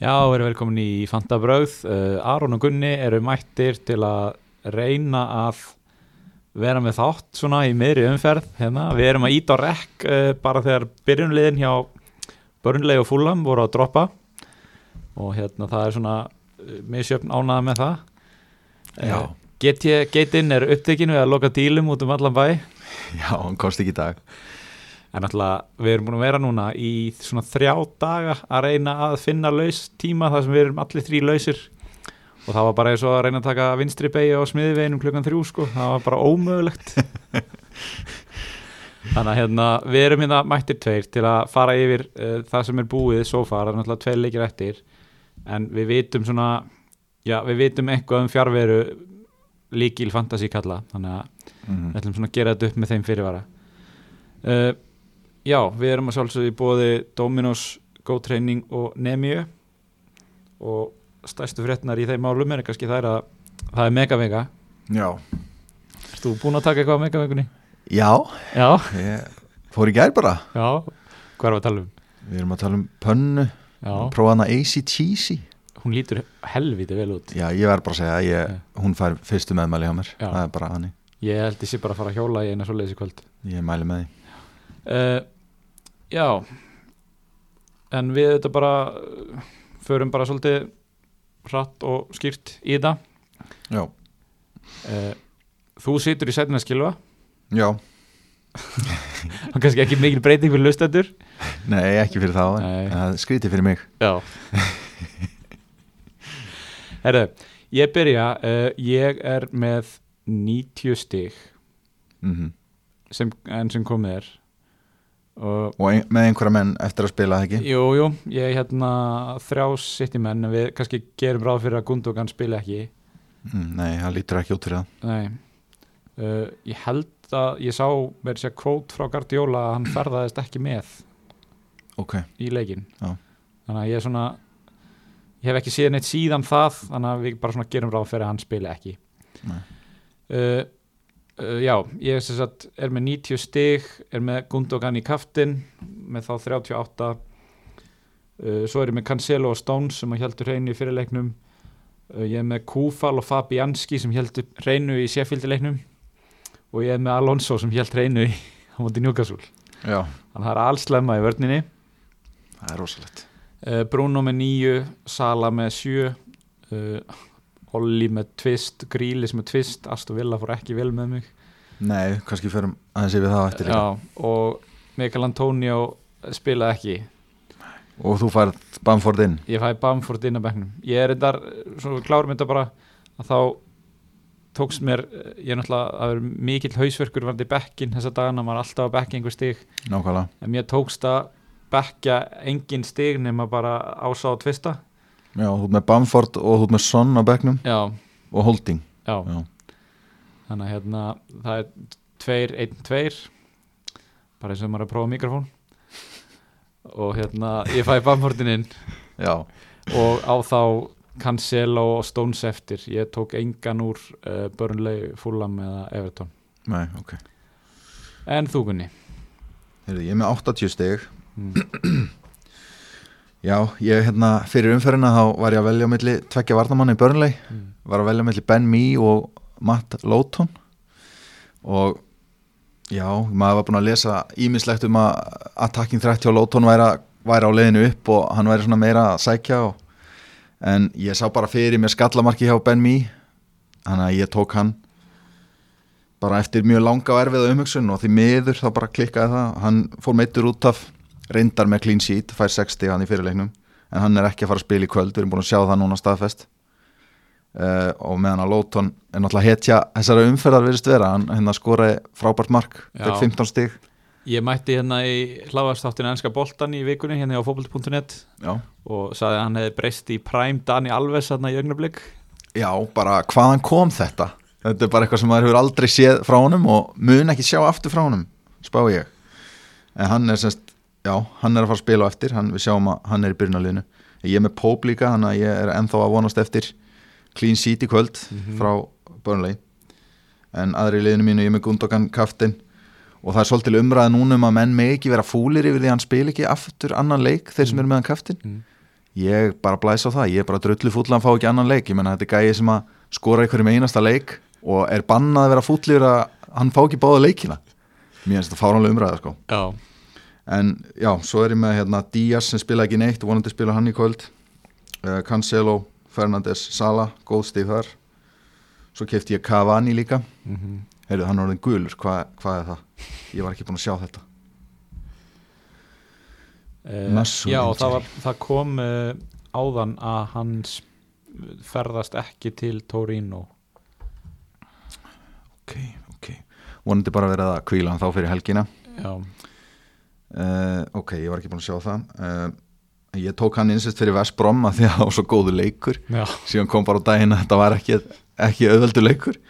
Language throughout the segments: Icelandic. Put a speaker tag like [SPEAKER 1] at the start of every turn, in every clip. [SPEAKER 1] eru velkomin í Fanta Brauð. Uh, Aron og Gunni eru mættir til að reyna að vera með þátt svona í miðri umferð. Hérna. Við erum að íta á rekk uh, bara þegar byrjunliðin hjá Börnlegi og Fúlam voru að droppa og hérna það er svona eh, misjöfn ánaða með það.
[SPEAKER 2] Já,
[SPEAKER 1] Eh, GT, GTinn er upptekinu við að loka dílum út um allan bæ.
[SPEAKER 2] já, hann kosti ekki í dag
[SPEAKER 1] En náttúrulega við erum búin að vera núna í svona þrjá daga að reyna að finna laus tíma þar sem við erum allir þrý lausir og það var bara eins og að reyna að taka vinstri beigja á smiðiveginum klukkan þrjú sko, það var bara ómögulegt. Þannig að hérna, við erum hérna mættir tveir til að fara yfir uh, það sem er búið svo far, það er náttúrulega tveir leikir eftir en við vitum svona, já við vitum eitthvað um fjárveru líkil fantasy kalla, þannig að
[SPEAKER 2] mm.
[SPEAKER 1] við ætlum svona að gera þetta upp með þeim fyrirvara uh, Já, við erum að sjálfsögðu í bóði Dominos, Go Training og Nemio og stærstu fréttnar í þeim málum er kannski þær að það er Megavega
[SPEAKER 2] Já,
[SPEAKER 1] Erst þú búin að taka eitthvað á Megavegunni?
[SPEAKER 2] já
[SPEAKER 1] Já,
[SPEAKER 2] ég fór í gær bara
[SPEAKER 1] já, hvað er að tala um?
[SPEAKER 2] Við erum að tala um pönnu
[SPEAKER 1] Já,
[SPEAKER 2] Prófa hana AC Cheesy
[SPEAKER 1] hún lítur helviti vel út
[SPEAKER 2] Já, ég verð bara að segja að ég, hún fær fyrstu meðmæli hjá mér
[SPEAKER 1] Já.
[SPEAKER 2] Það er bara hannig,
[SPEAKER 1] Ég held ég sé bara að fara að hjóla í eina svoleiðis í kvöld
[SPEAKER 2] ég mæli með því
[SPEAKER 1] uh, Já En við þetta bara uh, förum bara svolítið hratt og skýrt í þetta
[SPEAKER 2] Já,
[SPEAKER 1] Eh, Þú situr í sætina skilfa
[SPEAKER 2] já,
[SPEAKER 1] og kannski ekki mikil breyting fyrir lustendur
[SPEAKER 2] nei, ekki fyrir þá en-
[SPEAKER 1] Nei.
[SPEAKER 2] en það Skrítið fyrir mig
[SPEAKER 1] Já Herðu, ég byrja uh, ég er með 90 stig
[SPEAKER 2] mm
[SPEAKER 1] sem, enn sem komið er og
[SPEAKER 2] Og ein, með einhverja menn eftir að spila það ekki
[SPEAKER 1] jú, jú, ég er hérna þrjá sitt í menn en við kannski gerum ráð fyrir að Gundogan spila ekki
[SPEAKER 2] mm, Nei, það lítur ekki út fyrir það
[SPEAKER 1] Nei uh, Ég held að ég sá verið sér kvót frá Guardiola að hann ferðaðist ekki með
[SPEAKER 2] Ok,
[SPEAKER 1] í leikin
[SPEAKER 2] Já.
[SPEAKER 1] þannig að ég er svona ég hef ekki séð neitt síðan það þannig að við bara svona gerum ráð fyrir að hann spili ekki
[SPEAKER 2] Nei.
[SPEAKER 1] uh, uh, já, ég er, sem sagt, er með 90 stig er með Gundogan í kaftin með þá 38 uh, Eh, svo er ég með Cancelo og Stones sem að heldur hreinu í fyrirleiknum uh, ég er með Kúfal og Fabianski sem heldur hreinu í séfildileiknum og ég er með Alonso sem held hreinu í á móti Newcastle
[SPEAKER 2] já,
[SPEAKER 1] þannig að það er allslemma í vörninni
[SPEAKER 2] það er rosalegt
[SPEAKER 1] Eh, Bruno með nýju, Sala með sjö uh, Olli með tvist, Grílis með tvist Aston Villa fór ekki vel með mig
[SPEAKER 2] Nei, kannski förum aðeins yfir það á eftir líka
[SPEAKER 1] Já, og Mikael Antonio spilaði ekki
[SPEAKER 2] Og þú færð Bamford inn
[SPEAKER 1] ég fæði Bamford inn að bekknum ég er þetta, svona klárum þetta bara að þá tókst mér eh, ég er náttúrulega, það er mikill hausverkur varði bekkin þessa dagana, maður er alltaf að bekki einhver stig,
[SPEAKER 2] Nákvæmlega
[SPEAKER 1] en mér tókst að bekka engin stig nema bara ása og tvista
[SPEAKER 2] Já, þú ert með Bamford og þú ert með Son á bekknum
[SPEAKER 1] Já,
[SPEAKER 2] og Holding
[SPEAKER 1] já
[SPEAKER 2] Já,
[SPEAKER 1] Þannig að hérna, það er tveir, einn, tveir bara eins og maður er að prófa mikrofón og hérna, ég fæ bamfordin inn
[SPEAKER 2] já,
[SPEAKER 1] og á þá Cancelo og Stones eftir ég tók engan úr uh, Burnley, Fulham eða Everton
[SPEAKER 2] nei, ok
[SPEAKER 1] en þú Gunni
[SPEAKER 2] Heyrðu, Ég er með 80 stig
[SPEAKER 1] mm.
[SPEAKER 2] Já, ég hérna, fyrir umferðina þá var ég að velja á milli tvekja varnamanna í Burnley
[SPEAKER 1] Mm.
[SPEAKER 2] var að velja á milli Ben Mee og Matt Lóton og já, maður var búinn að lesa ímislegt um að attacking 30 og Lóton væri, að- væri á leiðinu upp og hann væri svona meira að sækja og, en ég sá bara fyrir mér skallamarki hjá Ben Mee þannig að ég tók hann bara eftir mjög langa og erfiða umhugsun og því miður þá bara klikkaði það hann fór meittur út af reyndar með clean sheet, fær 60 hann í fyrirleiknum en hann er ekki að fara að spila í kvöld við erum búin að sjá það núna staðfest uh, og meðan að Lóton er náttúrulega hetja þessara umferðar virðist vera hann hérna skoraði frábært mark
[SPEAKER 1] Já.
[SPEAKER 2] fekk 15 stig
[SPEAKER 1] Ég mætti hérna í hláðastáttina ennska boltan í vikunni hérna á fókbalt.net
[SPEAKER 2] já.
[SPEAKER 1] og sagði að hann hefði breyst í Prime Dani Alves hérna í augnablik
[SPEAKER 2] já, bara hvaðan kom þetta þetta er bara eitthvað sem maður hefur aldrei séð frá honum og mun ekki sjá aftur frá honum spá ég en hann er semst, já, hann er að fara að spila á eftir hann, við sjáum að hann er í byrjunarliðinu ég er með Pope líka, hann að ég er ennþá að vonast eftir clean sheet í kvöld frá Burnley en aðri í liðinu mínu, ég er með Gundogan kaftin og það er svolítil umræða núna um að menn megi ekki vera fúlir yfir því að hann spil ekki aftur annan leik þeir sem
[SPEAKER 1] Mm.
[SPEAKER 2] eru með hann kaftin
[SPEAKER 1] Mm.
[SPEAKER 2] ég bara blæs á það, ég er bara drullu fúll að hann fá ekki annan leik, ég menna þetta er gæi sem að skora einhverjum einasta leik og er bannað að vera fúllir að hann fá ekki báða leikina mér finnst þetta fáránlega umræða sko
[SPEAKER 1] Já,
[SPEAKER 2] en já, svo er ég með hérna Díaz sem spila ekki neitt, vonandi spila hann í kvöld uh, Cancelo, Fernandes Sala, góð stíð þar svo kefti ég Cavani líka
[SPEAKER 1] mm
[SPEAKER 2] heyrðu, hann er orðin gulur, hvað, hvað er það? ég var ekki búin að sjá þetta Nasu
[SPEAKER 1] Eh, já
[SPEAKER 2] Injury.
[SPEAKER 1] það, var, það kom uh, áðan að hann s- ferðast ekki til Torino
[SPEAKER 2] ok, ok vonandi bara verið að kvíla hann þá fyrir helgina
[SPEAKER 1] Já,
[SPEAKER 2] Uh, ok, ég var ekki búin að sjá það uh, Ég tók hann innsett fyrir Vestbrom að því að það var svo góðu leikur
[SPEAKER 1] já,
[SPEAKER 2] síðan kom bara á daginn að þetta var ekki, ekki auðveldu leikur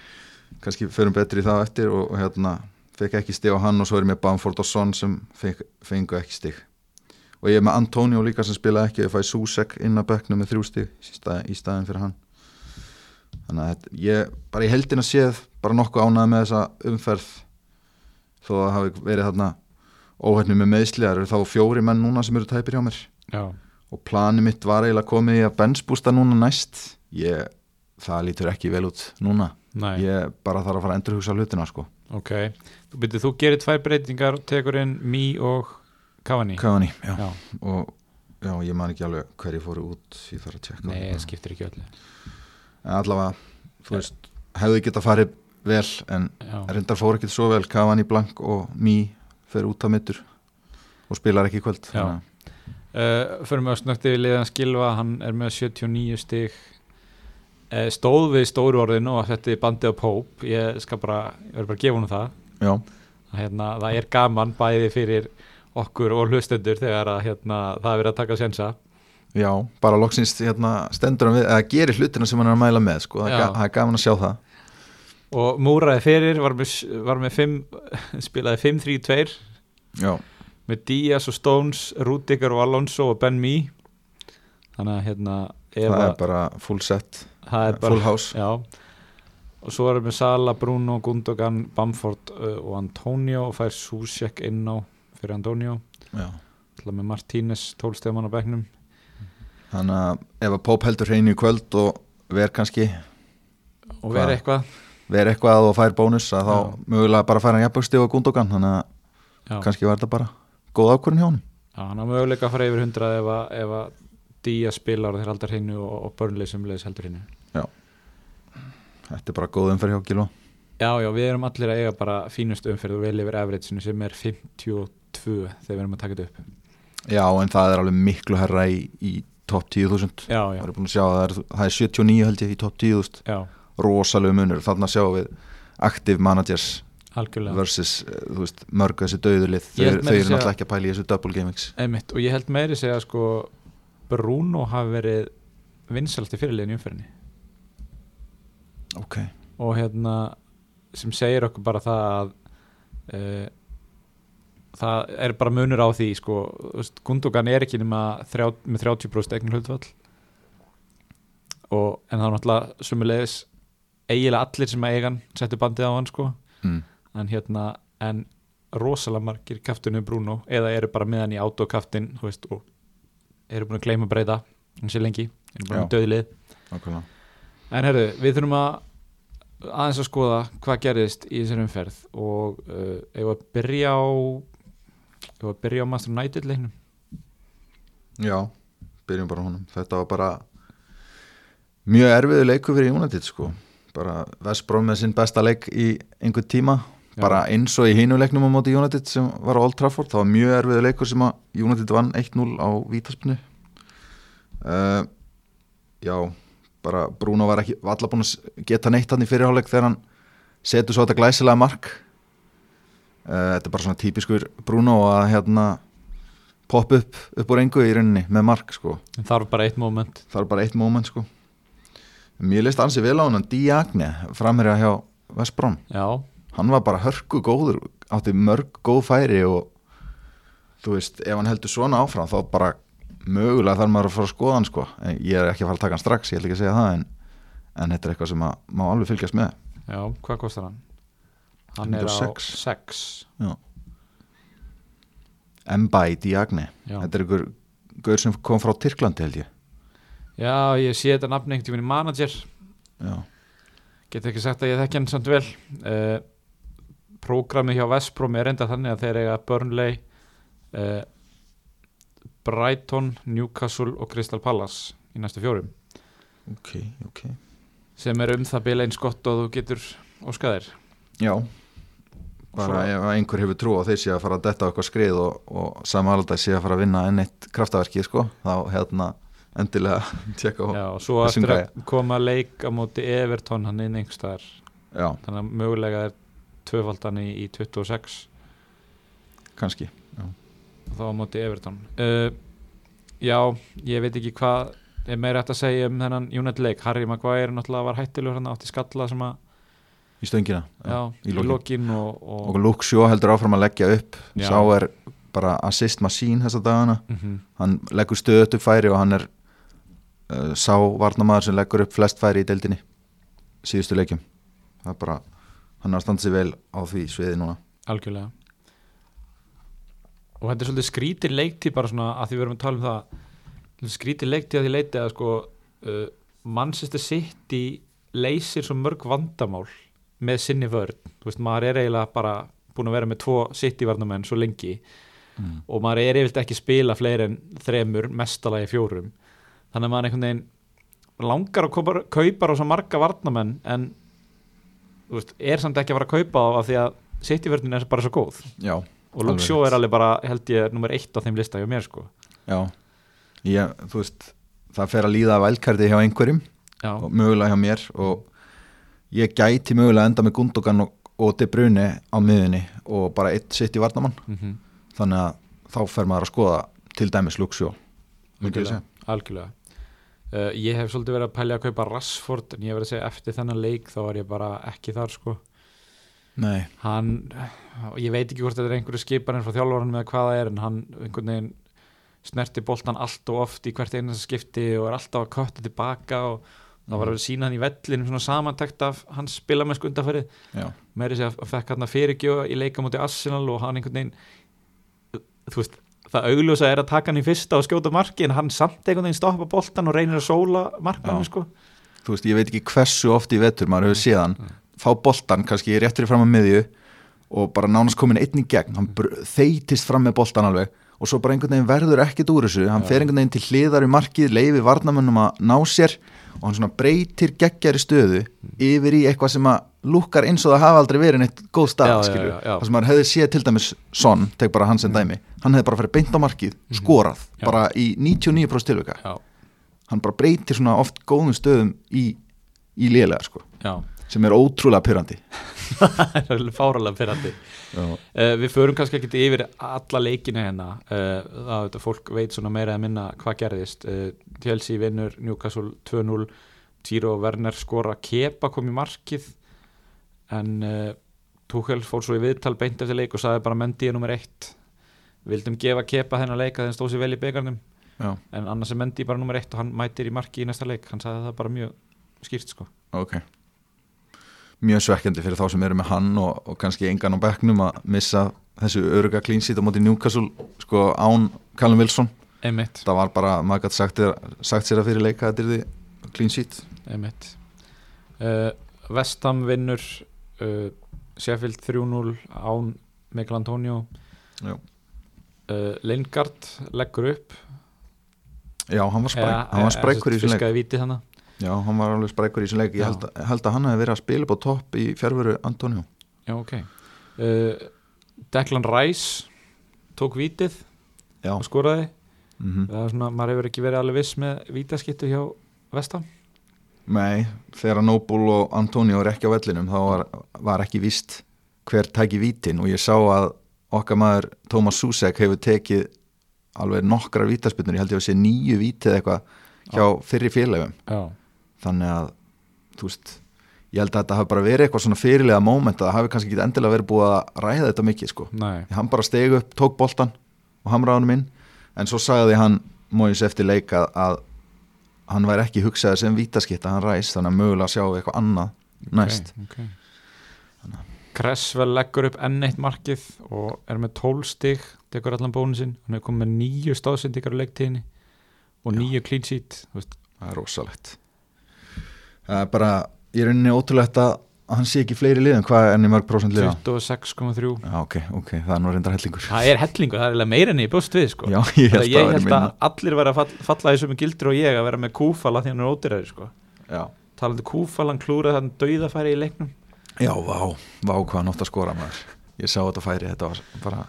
[SPEAKER 2] kannski förum betri í það á eftir og, og hérna fekk ekki stig á hann og svo er ég með Bamford og Son sem fengu, fengu ekki stig og ég er með Antonio líka sem spilaði ekki og ég fæ Susek inn að bekknu með þrjú stig í stað- í staðin fyrir hann þannig að þetta, ég bara í heldina séð bara nokkuð ánæði með þessa umferð þó að hafi verið þarna óhætni með meðsliðar þá fjóri menn núna sem eru tæpir hjá mér
[SPEAKER 1] já
[SPEAKER 2] og planið mitt var eiginlega komið í að bensbústa núna næst ég, það lítur ekki vel út núna
[SPEAKER 1] Nei,
[SPEAKER 2] ég bara þarf að fara að endurhugsa hlutina sko.
[SPEAKER 1] ok Þú byrjuð, þú gerir tvær breytingar, tekur inn Mí og Cavani
[SPEAKER 2] Cavani, já.
[SPEAKER 1] Já,
[SPEAKER 2] og já, ég man ekki alveg hverju fóru út ég þarf að tjekka
[SPEAKER 1] nei, sko.
[SPEAKER 2] það.
[SPEAKER 1] það skiptir ekki öllu
[SPEAKER 2] en allavega,
[SPEAKER 1] Já.
[SPEAKER 2] þú veist hefði geta farið vel en
[SPEAKER 1] Eh, Já,
[SPEAKER 2] reyndar fór ekkert svo vel, Cavani blank og Mí fer út af mittur og spilar ekki í kvöld
[SPEAKER 1] Já.
[SPEAKER 2] þannig að-
[SPEAKER 1] uh, förum við að snögt yfir liðan skilfa, hann er með 79 stig uh, stóð við stóru orðinu og þetta er bandið á Póp ég skal bara, ég verður bara að gefa hún það
[SPEAKER 2] já,
[SPEAKER 1] að, hérna, það er gaman bæði fyrir okkur og hlustendur þegar að hérna, það er verið að taka sensa
[SPEAKER 2] já, bara loksins hérna, stendur hann við, eða gerir hlutina sem hann er að mæla með sko. það er
[SPEAKER 1] Já.
[SPEAKER 2] ga- það er gaman að sjá það
[SPEAKER 1] og múraði fyrir, var með, var með fimm, spilaði 5-3-2
[SPEAKER 2] já,
[SPEAKER 1] með Díaz og Stones, Rúdikar og Alonso og Ben Mee þannig að hérna, ef
[SPEAKER 2] það
[SPEAKER 1] að-
[SPEAKER 2] er bara full set
[SPEAKER 1] það er bara
[SPEAKER 2] full house
[SPEAKER 1] Já og svo erum við Sala, Bruno, Gundogan, Bamford uh, og Antonio og fær Susek inn á fyrir Antonio
[SPEAKER 2] Já.
[SPEAKER 1] ætla með Martínez, tólstegamann á bekknum
[SPEAKER 2] Þannig að ef að Póp heldur hreinu í kvöld og ver kannski,
[SPEAKER 1] og vera
[SPEAKER 2] Hvað?
[SPEAKER 1] eitthvað
[SPEAKER 2] ver eitthvað og fær bónus að þá
[SPEAKER 1] Já.
[SPEAKER 2] mögulega bara fær hann jafnbögsti og gundogan þannig að
[SPEAKER 1] Já,
[SPEAKER 2] kannski var þetta bara góð ákvörðin hjá honum
[SPEAKER 1] Já hann á möguleika að fara yfir 100 ef að, ef að Díaz spilar og þeir haldar hinnu og, og Burnley sem leiðis heldur hinnu
[SPEAKER 2] Þetta er bara góð umferð hjá Gilva
[SPEAKER 1] Já, já, við erum allir að eiga bara fínustu umferð og vel yfir average-inu sem er 52 þegar við erum að taka þetta upp
[SPEAKER 2] Já, en það er alveg miklu herra í, í topp 10.000
[SPEAKER 1] Já,
[SPEAKER 2] Það
[SPEAKER 1] já,
[SPEAKER 2] er búin að sjá að það er, það er 79 held ég í topp 10.000
[SPEAKER 1] já,
[SPEAKER 2] rosalegu munur, þannig að sjá við active managers
[SPEAKER 1] algjörlega
[SPEAKER 2] versus eh, þú veist, mörg þessi döðulið þau,
[SPEAKER 1] Ég held meira að
[SPEAKER 2] þau eru
[SPEAKER 1] segja-
[SPEAKER 2] náttúrulega ekki að pæla í þessu double gamings
[SPEAKER 1] Einmitt, og ég held meiri segja sko Bruno hafi verið vinsalt í fyrirliðin í umferðinni
[SPEAKER 2] Ok,
[SPEAKER 1] og hérna sem segir okkur bara það að uh, það er bara munur á því sko, þú veist, Gundogan er ekki nema þrjá, með 30% eigin hlutvall og en það er náttúrulega sumulegis eiginlega allir sem að eigan settu bandið á hann sko
[SPEAKER 2] mm.
[SPEAKER 1] en hérna en rosalega margir kaftunum Bruno eða eru bara með hann í autokaftin þú veist, og eru búin að gleyma að breyta hann sé lengi, eru bara
[SPEAKER 2] Já.
[SPEAKER 1] með döðlið
[SPEAKER 2] nákvæmlega
[SPEAKER 1] en herru, við þurfum að aðeins að skoða hvað gerðist í þessari umferð og uh, ef að byrja á ef að byrja á Master United leiknum
[SPEAKER 2] Já, byrjum bara á honum Þetta var bara mjög erfiðu leiku fyrir United sko bara Vestbrom með sinn besta leik í einhver tíma,
[SPEAKER 1] Já.
[SPEAKER 2] bara eins og í hinu leiknum á móti United sem var á Old Trafford það var mjög erfiðu leikur sem að United vann 1-0 á Vítaspinu uh, Já bara Bruno var ekki var allar búin að s- geta neitt hann í fyrirháleik þegar hann setur svo þetta glæsilega mark uh, Þetta er bara svona típiskur Bruno að hérna popp upp, upp úr engu í rauninni með mark sko,
[SPEAKER 1] en það var bara eitt moment
[SPEAKER 2] það er bara eitt moment sko mér leist ansi vel á hann Diagne, framherja hjá Vestbrón,
[SPEAKER 1] já,
[SPEAKER 2] hann var bara hörku góður, átti mörg góð færi og þú veist ef hann heldur svona áfram þá bara mögulega þarf maður að fara að skoða hann sko en ég er ekki að fara að taka hann strax, ég ætla ekki að segja það en, en þetta er eitthvað sem að, má alveg fylgjast með
[SPEAKER 1] já, hvað kostar hann? hann er á
[SPEAKER 2] 106.
[SPEAKER 1] 6
[SPEAKER 2] Mbai Diagne,
[SPEAKER 1] já,
[SPEAKER 2] þetta er einhver gaur sem kom frá Tyrklandi held ég
[SPEAKER 1] Já, ég sé þetta nafni einhvern tíminn í manager
[SPEAKER 2] já,
[SPEAKER 1] get ekki sagt að ég þekki hann samt vel uh, prógramið hjá Vesprom er enda þannig að þeir eiga Burnley uh, Brighton, Newcastle og Crystal Palace í næstu fjórum
[SPEAKER 2] ok, ok
[SPEAKER 1] sem er um það bila eins gott og þú getur óskaðir
[SPEAKER 2] Já, bara ef einhver hefur trú á þeir sé að fara að detta á eitthvað skrið og, og samalda sé að fara að vinna enn eitt kraftaverki sko, þá hérna endilega tjekka á
[SPEAKER 1] Já, og svo
[SPEAKER 2] þessum
[SPEAKER 1] eftir að koma leik á móti Everton hann inn einhvers staðar
[SPEAKER 2] Já,
[SPEAKER 1] þannig að mögulega er tvöfaldan í, í 26
[SPEAKER 2] kannski
[SPEAKER 1] og þá á móti Everton uh, Já, ég veit ekki hvað er meira hægt að segja um þennan United leik Harry Maguire náttúrulega var hættilegur hann átti skalla sem að,
[SPEAKER 2] Í stöngina
[SPEAKER 1] já,
[SPEAKER 2] í
[SPEAKER 1] í
[SPEAKER 2] lokin.
[SPEAKER 1] lokin og, og,
[SPEAKER 2] Og Luke Shaw heldur áfram að leggja upp
[SPEAKER 1] Já.
[SPEAKER 2] Sá er bara assist machine þessa dagana
[SPEAKER 1] Mhm,
[SPEAKER 2] Hann leggur stöðut upp færi og hann er uh, sá varnamaður sem leggur upp flest færi í deildinni síðustu leikjum Það er bara, hann er að standa sér vel á því sviði núna
[SPEAKER 1] algjörlega og þetta er svolítið skrítið leikti bara svona að því við erum að tala um það svolítið skrítið leikti að því leiti að sko uh, Manchester City leysir svo mörg vandamál með sinni vörn, þú veist maður er eiginlega bara búin að vera með tvo City varnamenn svo lengi
[SPEAKER 2] mm.
[SPEAKER 1] og maður er yfirlt ekki að spila fleiri en þremur, mestalagi fjórum þannig að maður einhvern veginn langar að kaupa, kaupa rosa marga varnamenn en þú veist, er samt ekki að fara að kaupa þá af því að sittiförnin er bara svo góð
[SPEAKER 2] Já,
[SPEAKER 1] og Luke
[SPEAKER 2] Alveg
[SPEAKER 1] Shaw
[SPEAKER 2] rétt.
[SPEAKER 1] er alveg bara, held ég, nummer eitt á þeim lista hjá mér sko
[SPEAKER 2] Já, ég, þú veist það fer að líða vælkardi hjá einhverjum
[SPEAKER 1] Já,
[SPEAKER 2] og mögulega hjá mér og ég gæti mögulega enda með Gundogan og, og De Bruyne á miðunni og bara eitt sitt í varnamann
[SPEAKER 1] mm -hmm.
[SPEAKER 2] þannig að þá fer maður að skoða til dæmis Luxjó
[SPEAKER 1] algjörlega, algjörlega. Uh, ég hef svolítið verið að pælja að kaupa Rashford en ég verið að segja eftir þennan leik þá var ég bara ekki þar sko
[SPEAKER 2] Nei,
[SPEAKER 1] hann, ég veit ekki hvort þetta er einhverju skipanir frá þjálfvaranum eða hvað það er en hann einhvern veginn snerti boltan allt og oft í hvert einasta skipti og er alltaf að kötta tilbaka og það
[SPEAKER 2] Mhm. Mm.
[SPEAKER 1] var að vera sína hann í vellinum svona samantækt af hans spilamennsku undanfærið
[SPEAKER 2] já,
[SPEAKER 1] meiri sér að fekk hann að fyrirgjóða í leika múti Arsenal og hann einhvern veginn þú veist, það augljósa er að taka hann í fyrsta og skjóta marki en hann samt einhvern veginn stoppa boltan og reynir að sóla markmann
[SPEAKER 2] Já.
[SPEAKER 1] sko.
[SPEAKER 2] þú veist, ég veit ekki hversu oft í vetur maður hefur séð hann fá boltan, kannski rétt fyrir fram að miðju og bara nánast komin einn í gegn hann br- þeytist fram með boltan alveg og svo bara einhvern veginn verður ekkert úr þessu hann
[SPEAKER 1] Já.
[SPEAKER 2] fer einhvern veginn til hliðar í markið leifi varnamönnum að ná sér og hann svona breytir geggjari stöðu yfir í eitthvað sem að lúkkar eins og það hafa aldrei verið neitt góð stað
[SPEAKER 1] Já, já,
[SPEAKER 2] skilur,
[SPEAKER 1] já, já.
[SPEAKER 2] það sem maður hefði séð til dæmis Son, tek bara hans en dæmi hann hefði bara farið beint á markið, skorað
[SPEAKER 1] Mm. Já.
[SPEAKER 2] bara í 99% tilvika
[SPEAKER 1] já,
[SPEAKER 2] hann bara breytir svona oft góðum stöðum í, í lélega sko
[SPEAKER 1] já,
[SPEAKER 2] sem er ótrúlega pyrrandi
[SPEAKER 1] það er alveg fáralega fyrir að
[SPEAKER 2] Já,
[SPEAKER 1] Uh, við förum kannski ekkert yfir alla leikina hérna uh, það þetta fólk veit svona meira að minna hvað gerðist uh, TLC vinnur Newcastle 2-0 Tiro Werner skora kepa kom í markið en uh, Tuchel fór svo í viðtal beint eftir leik og sagði bara Mendy er nummer eitt vildum gefa kepa þennan leik að þeim stóð sér vel í byggarnum
[SPEAKER 2] já,
[SPEAKER 1] en annars er Mendy bara nummer eitt og hann mætir í marki í næsta leik hann sagði það bara mjög skýrt sko
[SPEAKER 2] ok Mjög svekkjandi fyrir þá sem eru með hann og, og kannski engan á bekknum að missa þessu öruga klínsít á móti Newcastle sko án Callum Wilson
[SPEAKER 1] einmitt
[SPEAKER 2] það var bara, maður gæti sagt, þér- sagt sér að fyrir leika að þetta er því klínsít
[SPEAKER 1] einmitt uh, Vestam vinnur uh, Sheffield 3-0 án Mikael Antonio
[SPEAKER 2] Já.
[SPEAKER 1] uh, Lingard leggur upp Eh,
[SPEAKER 2] Já, hann var, spræk, hann var sprækur í þessum leik
[SPEAKER 1] fiskaði viti þannig
[SPEAKER 2] Já, hann var alveg sprækur í þessum leik
[SPEAKER 1] Já.
[SPEAKER 2] Ég held, að- held að hann hefði verið að spila upp á topp í fjárveru Antonio
[SPEAKER 1] Já, okay. uh, Declan Rice tók vitið
[SPEAKER 2] Já,
[SPEAKER 1] og skoraði
[SPEAKER 2] mhm
[SPEAKER 1] það er svona, maður hefur ekki verið alveg viss með vítaskittu hjá Vestam
[SPEAKER 2] Nei, þegar Noble og Antonio er ekki á vellinum þá var, var ekki víst hver tæki vítin og ég sá að okkar maður Tómas Susek hefur tekið alveg nokkrar vítaspinnur, ég held ég að sé nýju vítið eitthvað hjá fyrri félagum
[SPEAKER 1] Já,
[SPEAKER 2] þannig að, þú veist ég held að þetta hafi bara verið eitthvað svona fyrirlega moment að það hafi kannski ekki endilega verið búið að ræða þetta mikið sko,
[SPEAKER 1] nei
[SPEAKER 2] hann bara steg upp tók boltan og hamraðanum inn en svo sagði hann Móis eftir leik að, að hann væri ekki hugsaði sem vítaskitta hann ræst þannig að mögulega sjáum við eitthvað annað næst
[SPEAKER 1] okay, okay. Kressvel leggur upp enn eitt markið og er með 12 stig tekur allan bónusinn, hann er komið með nýju stáðsendingar á leiktíðinni og
[SPEAKER 2] Já.
[SPEAKER 1] nýju clean sheet Þú veist,
[SPEAKER 2] það er rosalegt það er bara, ég er unni ótrúlegt að að hann sé ekki í fleiri liðum, hvað er enn í mörg prósent liða?
[SPEAKER 1] 26,3
[SPEAKER 2] Já, ok, ok, það er nú reyndar hellingur
[SPEAKER 1] það er hellingu, það er eiginlega meira enn ég bjóst við sko.
[SPEAKER 2] Já, ég
[SPEAKER 1] Þannig
[SPEAKER 2] held
[SPEAKER 1] að
[SPEAKER 2] að
[SPEAKER 1] ég
[SPEAKER 2] það
[SPEAKER 1] held
[SPEAKER 2] verið
[SPEAKER 1] að
[SPEAKER 2] minna
[SPEAKER 1] allir verið að fall- falla í sömu gildur og ég að vera með kúfala því hann er ódýræði sko.
[SPEAKER 2] Já,
[SPEAKER 1] talandi kúfala, hann klúraði hann dauðafæri í leiknum
[SPEAKER 2] já, vá, vá hvað hann átt að skora maður Ég sá þetta færi, þetta var bara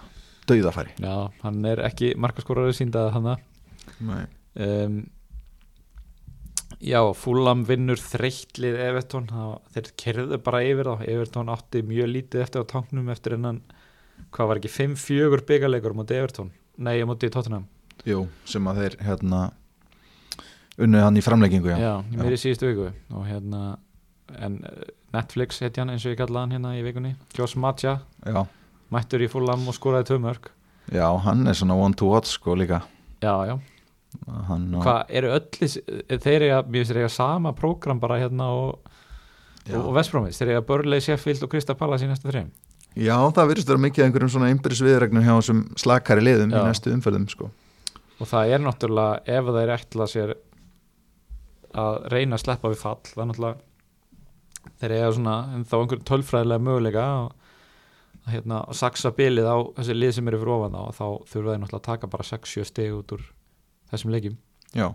[SPEAKER 2] dauðafæri
[SPEAKER 1] já, hann er ekki markaskóraður síndað hann
[SPEAKER 2] Nei.
[SPEAKER 1] um, Já, Fulham vinnur þreytlið Evertón, það- þeir kerðu bara yfir þá, Evertón átti mjög lítið eftir á tanknum eftir ennan hvað var ekki, 5-4 byggarleikur mútið Evertón, nei, ég mútið Tottenham
[SPEAKER 2] Jú, sem að þeir, hérna unnuð hann í framleggingu,
[SPEAKER 1] já,
[SPEAKER 2] já,
[SPEAKER 1] já, mér í síðustu viku og hérna, en eh, Netflix hetjan eins og ég kallaði hann hérna í vikunni Joss Matja,
[SPEAKER 2] já.
[SPEAKER 1] mættur í Fulham og skoraði tömörk
[SPEAKER 2] Já, hann er svona one to watch sko líka
[SPEAKER 1] Já, já,
[SPEAKER 2] hann,
[SPEAKER 1] hvað eru öll þessi- þeir eiga, mér finnst þeir eiga sama prógram bara hérna og,
[SPEAKER 2] Já.
[SPEAKER 1] og, og Vestbrómis, þeir eiga Börlei, Sheffield og Krista Pallas í næstu þreim
[SPEAKER 2] Já, það virðist vera mikið af einhverjum svona einbyrðis viðregnum hjá þessum slakari liðum
[SPEAKER 1] Já.
[SPEAKER 2] í næstu umferðum sko
[SPEAKER 1] og það er náttúrulega ef það er ætla sér að reyna að sleppa við fall það er náttúrulega þeir eiga svona en þá einhverjum tölfræðilega möguleika og að hérna, að saksa bilið á þessi lið sem eru fyrir ofan þá og þá þurfa þeir náttúrulega að taka bara 6-7 stig út úr þessum leikjum
[SPEAKER 2] Já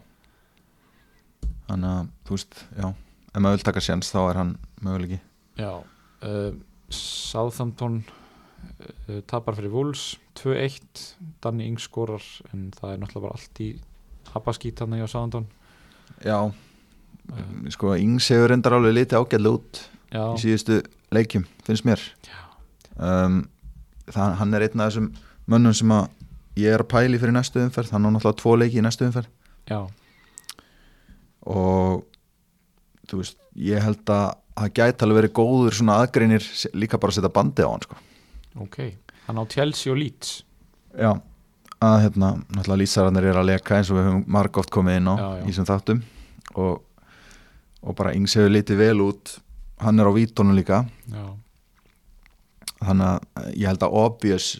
[SPEAKER 2] Þannig að, þú veist, já ef maður vil taka séns þá er hann möguleiki
[SPEAKER 1] Já uh, Southampton uh, tapar fyrir Wolves 2-1, Danny Ings skorar en það er náttúrulega bara allt í hapaskítana hjá Southampton
[SPEAKER 2] Já,
[SPEAKER 1] uh,
[SPEAKER 2] sko, Ings hefur reyndar alveg litið ágætlega út
[SPEAKER 1] Já,
[SPEAKER 2] í síðustu leikjum, finnst mér um, það, Hann er einn af þessum mönnum sem að ég er að pæli fyrir næstu umferð, hann á náttúrulega tvo leiki í næstu umferð
[SPEAKER 1] já,
[SPEAKER 2] og þú veist, ég held að það gæti alveg verið góður svona aðgreinir se- líka bara að setja bandið á hann sko.
[SPEAKER 1] ok Hann á Chelsea og Leeds
[SPEAKER 2] Já, að hérna náttúrulega lýsararnir er að leka eins og við höfum marg oft komið inn á
[SPEAKER 1] Já, já.
[SPEAKER 2] í sem þáttum og, og bara yngs hefur litið vel út hann er á vítunum líka
[SPEAKER 1] Já,
[SPEAKER 2] þannig að ég held að obvious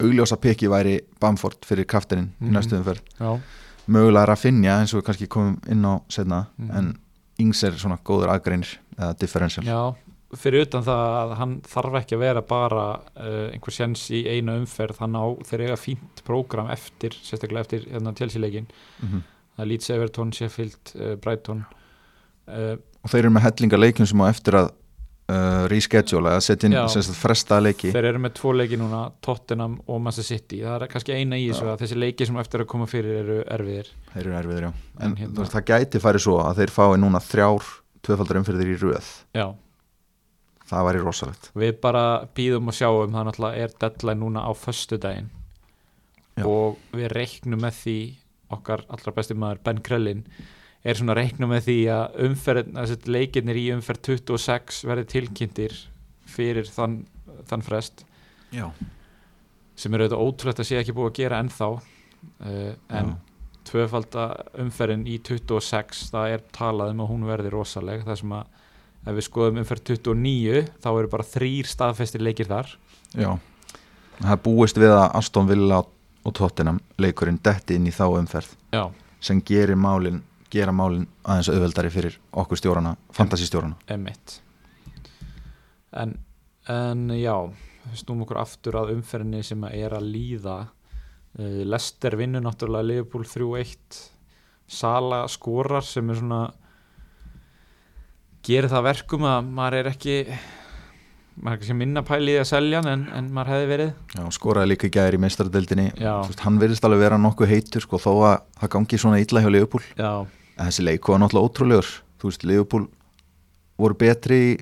[SPEAKER 2] augljósa piki væri Bamford fyrir kraftininn
[SPEAKER 1] Mhm.
[SPEAKER 2] í næstu umferð
[SPEAKER 1] já,
[SPEAKER 2] mögulega er að finna eins og við kannski komum inn á setna
[SPEAKER 1] Mhm.
[SPEAKER 2] en yngs er svona góður aðgreinir eða differential
[SPEAKER 1] já fyrir utan það að hann þarf ekki að vera bara uh, einhver sjens í eina umferð hann á þeir eiga fínt prógram eftir, sérstaklega eftir hérna tjálsileikin,
[SPEAKER 2] Mhm.
[SPEAKER 1] það er Leeds Everton, Sheffield uh, Brighton uh,
[SPEAKER 2] og þeir eru með hellinga leikjum sem á eftir að uh, reschedule eða setja inn
[SPEAKER 1] Já.
[SPEAKER 2] sem sagt, fresta leiki
[SPEAKER 1] þeir eru með tvo leiki núna Tottenham og Manchester City, það er kannski eina í þessu að þessi leiki sem á eftir að koma fyrir eru erfiðir
[SPEAKER 2] þeir eru erfiðir já
[SPEAKER 1] En
[SPEAKER 2] en
[SPEAKER 1] hérna-
[SPEAKER 2] þú veist, það gæti farið svo að þeir fái núna þrjár tvöfaldar umfyrðir í röð
[SPEAKER 1] já,
[SPEAKER 2] það væri rosalegt
[SPEAKER 1] við bara býðum og sjáum það náttúrulega er deadline núna á föstudaginn
[SPEAKER 2] Já.
[SPEAKER 1] og við reiknum með því okkar allra besti maður Ben Krellin er svona að reikna með því að umferð, að leikinnir í umferð 26 verði tilkynntir fyrir þann, þann frest
[SPEAKER 2] já,
[SPEAKER 1] sem er auðvitað ótrúlegt að sé ekki búið að gera ennþá uh, en
[SPEAKER 2] Já.
[SPEAKER 1] tvöfalda umferðin í 26 það er talað um að hún verði rosaleg það sem að ef við skoðum umferð 29 þá eru bara þrýr staðfestir leikir þar
[SPEAKER 2] það er búist við að Aston Villa og Tottenham leikurinn detti inn í þá umferð
[SPEAKER 1] Já,
[SPEAKER 2] sem gerir málin gera málin aðeins auðveldari fyrir okkur stjórana, fantasístjórana
[SPEAKER 1] emitt en, en já snúm okkur aftur að umferðinni sem að er að líða uh, Lester vinnur náttúrulega Liverpool 3-1 Sala skorar sem er svona gerir það verkum að maður er ekki maður er ekki minna pæli í að selja hann en, en maður hefði verið
[SPEAKER 2] Já, skoraði líka í gæri í meistaradeildinni
[SPEAKER 1] Já.
[SPEAKER 2] Þú veist, hann virðist alveg vera nokkuð heitur sko, þó að það gangi svona illa hjá Leopold
[SPEAKER 1] já,
[SPEAKER 2] En þessi leiku var náttúrulega ótrúlegur þú veist, Liverpool voru betri í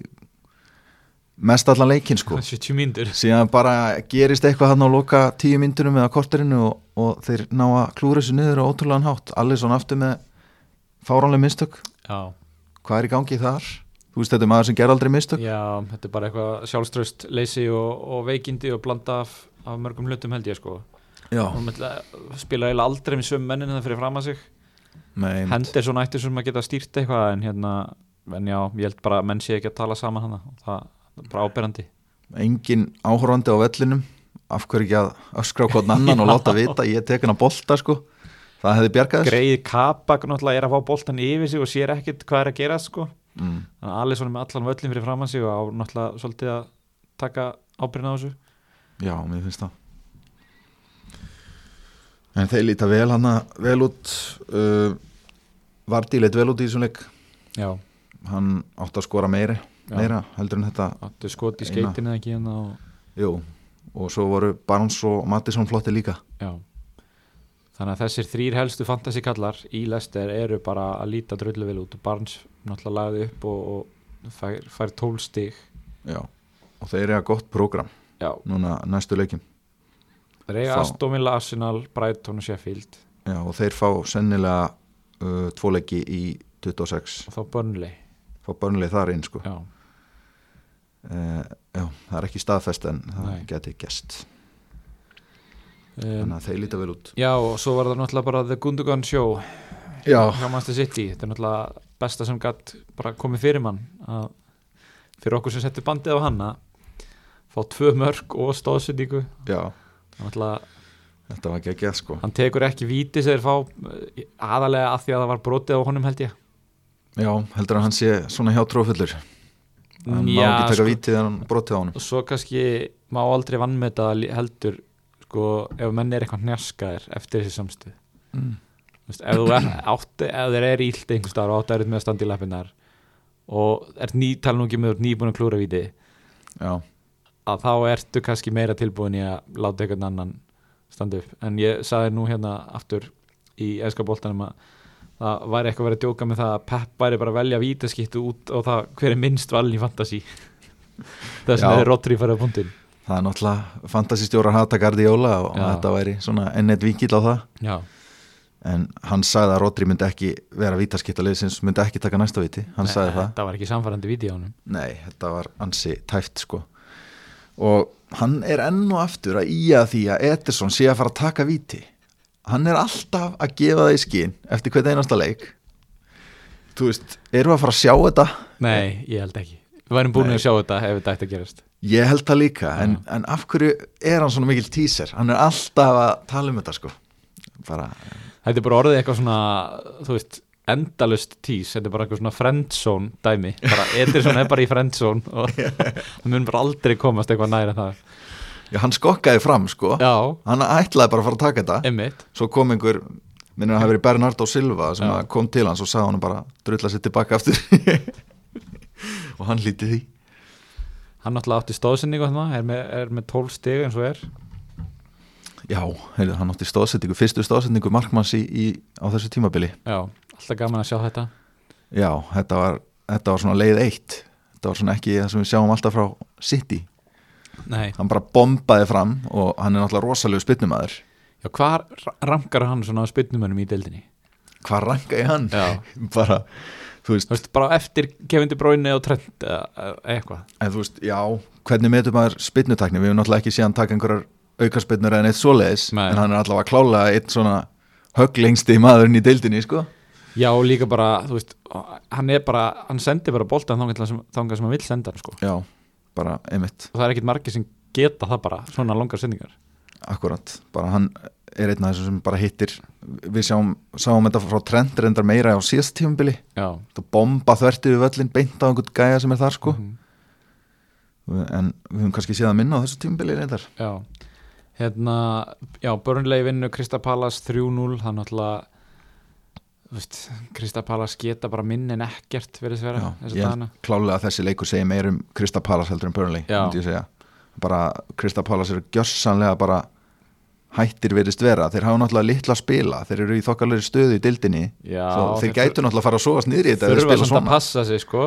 [SPEAKER 2] mest allan leikinn sko
[SPEAKER 1] 70 mínútur
[SPEAKER 2] síðan bara gerist eitthvað hann á loka tíu myndunum eða korterinu og, og þeir ná að klúra þessu niður á ótrúlegan hátt allir svona aftur með fáránlega mistök
[SPEAKER 1] já,
[SPEAKER 2] hvað er í gangi þar? Þú veist, þetta er maður sem ger aldrei mistök
[SPEAKER 1] já, þetta er bara eitthvað sjálfströst leysi og, og veikindi og blanda af, af mörgum hlutum held ég sko
[SPEAKER 2] Já,
[SPEAKER 1] hún ætla- spilar eiginlega aldrei með sömu mennin það fyrir fram að sig
[SPEAKER 2] nei,
[SPEAKER 1] hendir svona ættir sem að geta stýrt eitthvað en hérna, en já, ég held bara að menn sé ekki að tala saman hana það það er bara ábyrrandi
[SPEAKER 2] engin áhorfandi á vellinum af hverju ekki að öskra á hvort annan og láta vita ég tek hann að bolta sko það hefði bjargað þér?
[SPEAKER 1] greið kapak náttúrulega er að fá boltan yfir sig og sér ekkit hvað er að gera sko
[SPEAKER 2] mm.
[SPEAKER 1] þannig að Alisson er með allan völlin fyrir framann sig og á náttúrulega svolítið að taka ábyrna á þessu
[SPEAKER 2] já, mér finnst það en þeir líta vel hana vel út uh, Vardí leitt vel út í þessum leik
[SPEAKER 1] já,
[SPEAKER 2] hann átti að skora meiri,
[SPEAKER 1] Já.
[SPEAKER 2] meira heldur en þetta
[SPEAKER 1] áttu skot í
[SPEAKER 2] Eina.
[SPEAKER 1] skeitin eða ekki hérna og
[SPEAKER 2] jú, og svo voru Barnes og Mattisson flotti líka
[SPEAKER 1] já þannig að þessir þrýr helstu fantasy kallar í Lester eru bara að líta drullu vel út og Barnes náttúrulega lagði upp og, og fær, fær tólstig
[SPEAKER 2] já. og þeir eru að gott program
[SPEAKER 1] já,
[SPEAKER 2] núna næstu leikin
[SPEAKER 1] Reyga
[SPEAKER 2] Þá-
[SPEAKER 1] Astomilla, Arsenal, Brighton og Sheffield
[SPEAKER 2] já, og þeir fá sennilega uh, tvo leiki í 26
[SPEAKER 1] og þá Burnley
[SPEAKER 2] fá börnlega þar inn sko
[SPEAKER 1] já,
[SPEAKER 2] Uh, já, það er ekki staðfest en það
[SPEAKER 1] Nei.
[SPEAKER 2] geti gæst
[SPEAKER 1] um,
[SPEAKER 2] þannig að þeir líta vel út
[SPEAKER 1] já og svo var það náttúrulega bara The Gundogan Show
[SPEAKER 2] já,
[SPEAKER 1] hjá Manchester City þetta er náttúrulega besta sem gætt bara komið fyrir mann að fyrir okkur sem settu bandið á hanna fá tvö mörg og stóðsendingu
[SPEAKER 2] já,
[SPEAKER 1] náttúrulega
[SPEAKER 2] þetta var geggjað sko
[SPEAKER 1] hann tekur ekki víti sem þeir fá eh, aðalega að því að það var brotið á honum held ég
[SPEAKER 2] já, heldur að hann sé svona hjá trófullur hann má
[SPEAKER 1] Já,
[SPEAKER 2] ekki taka
[SPEAKER 1] sko.
[SPEAKER 2] vítið en hann brotið á honum
[SPEAKER 1] og svo kannski má aldrei vannmeta það lí- heldur sko ef menn er eitthvað njaskaðir eftir þessi samstuð
[SPEAKER 2] Mm.
[SPEAKER 1] Vist, ef, þú er, átti, ef þeir eru ílt einhvers staðar og átti erut með að standa í lappinnar og ert ný, tala nú ekki með þú ert nýbúin að klúra víti
[SPEAKER 2] já,
[SPEAKER 1] að þá ertu kannski meira tilbúin í að láta einhvern annan standa upp en ég saði nú hérna aftur í eska boltanum að það væri eitthvað verið að djóka með það að Pep væri bara að velja vítaskittu út og það hver er minnst valin í fantasi þess
[SPEAKER 2] Já.
[SPEAKER 1] að þeir Rodri farið á punktin
[SPEAKER 2] það er náttúrulega fantasistjórar hata Gardióla og
[SPEAKER 1] Já.
[SPEAKER 2] þetta væri svona ennett vingill á það
[SPEAKER 1] Já,
[SPEAKER 2] en hann sagði að Rodri myndi ekki vera vítaskipta liðsins, myndi ekki taka næsta víti hann sagði það
[SPEAKER 1] Þetta var ekki samfærandi víti á honum
[SPEAKER 2] Nei, þetta var ansi tæft sko og hann er enn og aftur að íja því að Ederson sé að fara að taka víti hann er alltaf að gefa það í skín eftir hvert einasta leik þú veist, erum við að fara að sjá þetta
[SPEAKER 1] Nei, ég held ekki Við værum búin
[SPEAKER 2] Nei.
[SPEAKER 1] að sjá þetta ef þetta ætti að gerast
[SPEAKER 2] ég held það líka, en, en af hverju er hann svona mikil tíser, hann er alltaf að tala um þetta sko bara,
[SPEAKER 1] Þetta er bara orðið eitthvað svona, þú veist, endalust tís, þetta er bara eitthvað svona friendzone dæmi, bara Ederson er bara í friendzone og það mun bara aldrei komast eitthvað næra það.
[SPEAKER 2] já, hann skokkaði fram sko,
[SPEAKER 1] Já,
[SPEAKER 2] hann ætlaði bara að fara að taka þetta
[SPEAKER 1] einmitt,
[SPEAKER 2] svo kom einhver, minnum að það hafi verið Bernardo Silva sem
[SPEAKER 1] Já.
[SPEAKER 2] að kom til hans og sagði hann bara drulla sér tilbaka aftur og hann lítið því
[SPEAKER 1] hann náttúrulega átti stóðsendingu þannig, er með, er með 12 stig eins og er,
[SPEAKER 2] já, heyrðu, hann átti stóðsetningu, fyrstu stóðsetningu markmanns í, í, á þessu tímabili
[SPEAKER 1] já, alltaf gaman að sjá þetta.
[SPEAKER 2] já, þetta var, þetta var svona leið eitt þetta var svona ekki það sem við sjáum alltaf frá City
[SPEAKER 1] Nei,
[SPEAKER 2] hann bara bombaði fram og hann er náttúrulega rosalegu spynnumæður
[SPEAKER 1] já, hvar ra- rankar hann svona á spynnumönum í deildinni?
[SPEAKER 2] hvað rangaði hann?
[SPEAKER 1] Já.
[SPEAKER 2] bara, þú veist,
[SPEAKER 1] Þú veist, bara eftir kefindi bróinu og trend eða eða eitthvað.
[SPEAKER 2] En þú veist, já, hvernig metum maður spynnutakni? Við höfum náttúrulega ekki séðan taka einhverjar aukarspynnur eða neitt svoleiðis,
[SPEAKER 1] Nei.
[SPEAKER 2] en hann er allavega klálega einn svona högglengsti maðurinn í deildinni, sko.
[SPEAKER 1] Já, og líka bara, þú veist, hann er bara, hann sendir bara boltan þangað til hann sem- þangað sem hann vill senda hann, sko.
[SPEAKER 2] Já, bara einmitt,
[SPEAKER 1] og það er ekkert margir sem geta það bara svona langar sendingar
[SPEAKER 2] akkurat. Bara hann er einn af þessum sem bara hittir, við sjáum, sáum þetta frá trend reyndar meira á síðast tímubili,
[SPEAKER 1] já,
[SPEAKER 2] þú bomba þvertið við völlin beint á einhvern gæja sem er þar, sko.
[SPEAKER 1] Mhm.
[SPEAKER 2] En við höfum kannski séðan minna á þessu tímubili reyndar.
[SPEAKER 1] já. hérna, já, Burnley vinnu Kristapalas 3-0 það er náttúrulega þú veist, Kristapalas geta bara minn en ekkert verið þess að
[SPEAKER 2] Já,
[SPEAKER 1] vera þessa
[SPEAKER 2] ég
[SPEAKER 1] dagana
[SPEAKER 2] held klálega að þessi leikur segir meir um Krista Palas heldur en Burnley
[SPEAKER 1] Já.
[SPEAKER 2] myndi ég segja. bara Krista Palas eru gjörsanlega bara hættir verist vera, þeir hafa náttúrulega litla að spila þeir eru í þokkalegri stöðu í dildinni
[SPEAKER 1] já,
[SPEAKER 2] Svo þeir
[SPEAKER 1] þeir
[SPEAKER 2] gætu náttúrulega að fara að sofast niður í þetta ef þeir
[SPEAKER 1] þurfa
[SPEAKER 2] spila
[SPEAKER 1] samt að
[SPEAKER 2] svona
[SPEAKER 1] passa sig sko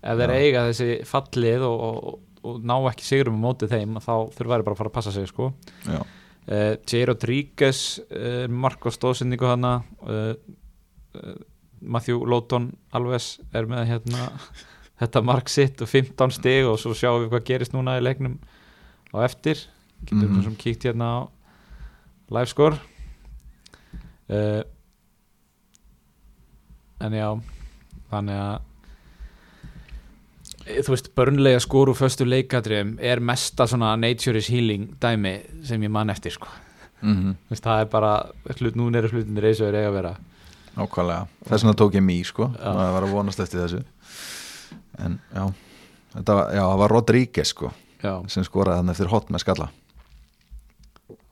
[SPEAKER 1] ef þeir
[SPEAKER 2] Já.
[SPEAKER 1] eiga þessi fallið og, og, og ná ekki sigurum á móti þeim þá þurfa þeir bara að fara að passa sig sko
[SPEAKER 2] Já.
[SPEAKER 1] uh, Jair Rodríguez uh, Marko stóðsendingu hana uh, uh, Matthew Lóton Alves er með hérna þetta mark sitt og 15 stig og svo sjáum við hvað gerist núna í leiknum á eftir getum
[SPEAKER 2] Mhm.
[SPEAKER 1] við sem kíkt hérna á live score uh, en já þannig að Eh, þú veist, börnlega skor úr föstu leikadriðum er mesta svona nature is healing dæmi sem ég man eftir sko.
[SPEAKER 2] mm -hmm.
[SPEAKER 1] Þú veist, það er bara, hlut, núna eru hlutinir eins og þeir eiga að vera
[SPEAKER 2] Nákvæmlega, þess vegna tók ég mý sko
[SPEAKER 1] Já.
[SPEAKER 2] maður var að vonast eftir þessu en já, þetta var, já, það var Rodríguez sko,
[SPEAKER 1] já,
[SPEAKER 2] sem skoraði hann eftir hot með skalla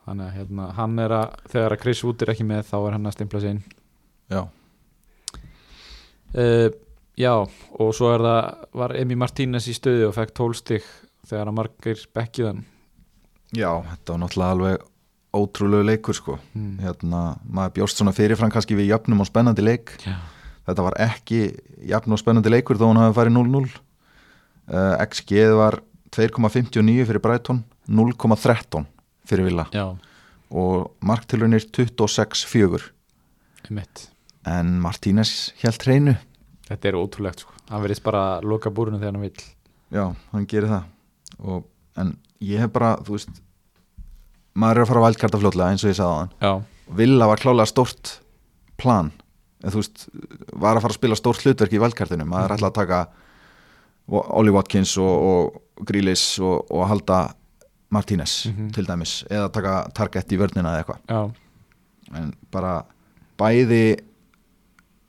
[SPEAKER 1] þannig að hérna, hann er að, þegar að Chris Wood er ekki með þá er hann að stimpla sig inn
[SPEAKER 2] Já,
[SPEAKER 1] uh, já, og svo er það var Emi Martínez í stöðu og fekk tólstig þegar að margir bekkiðan
[SPEAKER 2] já þetta var náttúrulega alveg ótrúlegu leikur sko
[SPEAKER 1] mm.
[SPEAKER 2] hérna, maður bjóst svona fyrirfram kannski við jafnum og spennandi leik
[SPEAKER 1] já,
[SPEAKER 2] þetta var ekki jafn og spennandi leikur þó hann hafi farið 0-0 uh, XG var 2,59 fyrir Brighton 0,13 fyrir Villa
[SPEAKER 1] já,
[SPEAKER 2] og marktilunir 26-4
[SPEAKER 1] einmitt
[SPEAKER 2] en Martínez held hreinu
[SPEAKER 1] þetta er ótrúlegt sko, hann verðist bara að loka búrunum þegar hann vill
[SPEAKER 2] já, hann gerir það og, en ég hef bara, þú veist maður er að fara að valdkarta fljótlega eins og ég sagði á hann
[SPEAKER 1] já,
[SPEAKER 2] Villa var klálega stort plan en þú veist, var að fara að spila stórt hlutverk í valdkartinu, maður er alltaf að taka Wa- Ollie Watkins og, og Grealish og, og halda Martínez
[SPEAKER 1] Mhm.
[SPEAKER 2] til dæmis eða taka target í vörnina eða eitthvað
[SPEAKER 1] já,
[SPEAKER 2] en bara bæði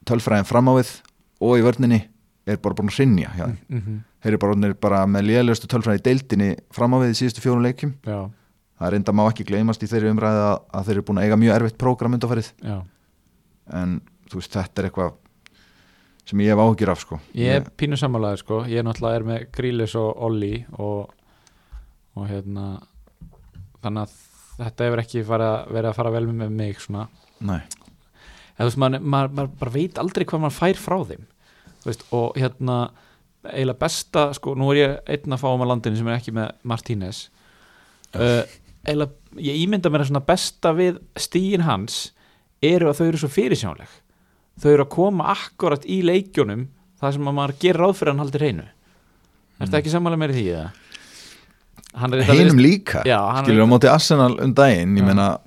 [SPEAKER 2] tölfræðin fram á við og í vörninni er bara búin að hrinja hjá þeim.
[SPEAKER 1] mm
[SPEAKER 2] Þeir eru bara, orðnir bara með lélustu tölfræði í deildinni fram á við í síðustu fjórum leikjum.
[SPEAKER 1] já,
[SPEAKER 2] Það er enda má ekki gleymast í þeirri umræði að, að þeir eru búin að eiga mjög erfitt prógram undarfærið
[SPEAKER 1] já
[SPEAKER 2] en þú veist þetta er eitthvað sem ég hef áhyggjur af sko.
[SPEAKER 1] Ég er pínu samanlega sko, ég er náttúrulega er með Grílis og Olli og, og hérna þannig að þetta hefur ekki fara, verið að fara vel með mig svona,
[SPEAKER 2] Nei,
[SPEAKER 1] eða þú veist maður, maður, maður bara veit aldrei hvað maður fær frá þeim Þú veist, og hérna eiginlega besta, sko, nú er ég einn að fá um að landinu sem er ekki með Martínez uh, eiginlega ég ímynda mér að svona besta við stíin hans eru að þau eru svo fyrirsjónleg þau eru að koma akkurat í leikjunum þar sem að maður gerir ráð fyrir að hann haldi reynu Ertu ekki sammála mér í því eða? Hann er
[SPEAKER 2] Mm. hinum líka
[SPEAKER 1] Já, hann er-
[SPEAKER 2] skilur á móti Arsenal um daginn ég
[SPEAKER 1] Já.
[SPEAKER 2] meina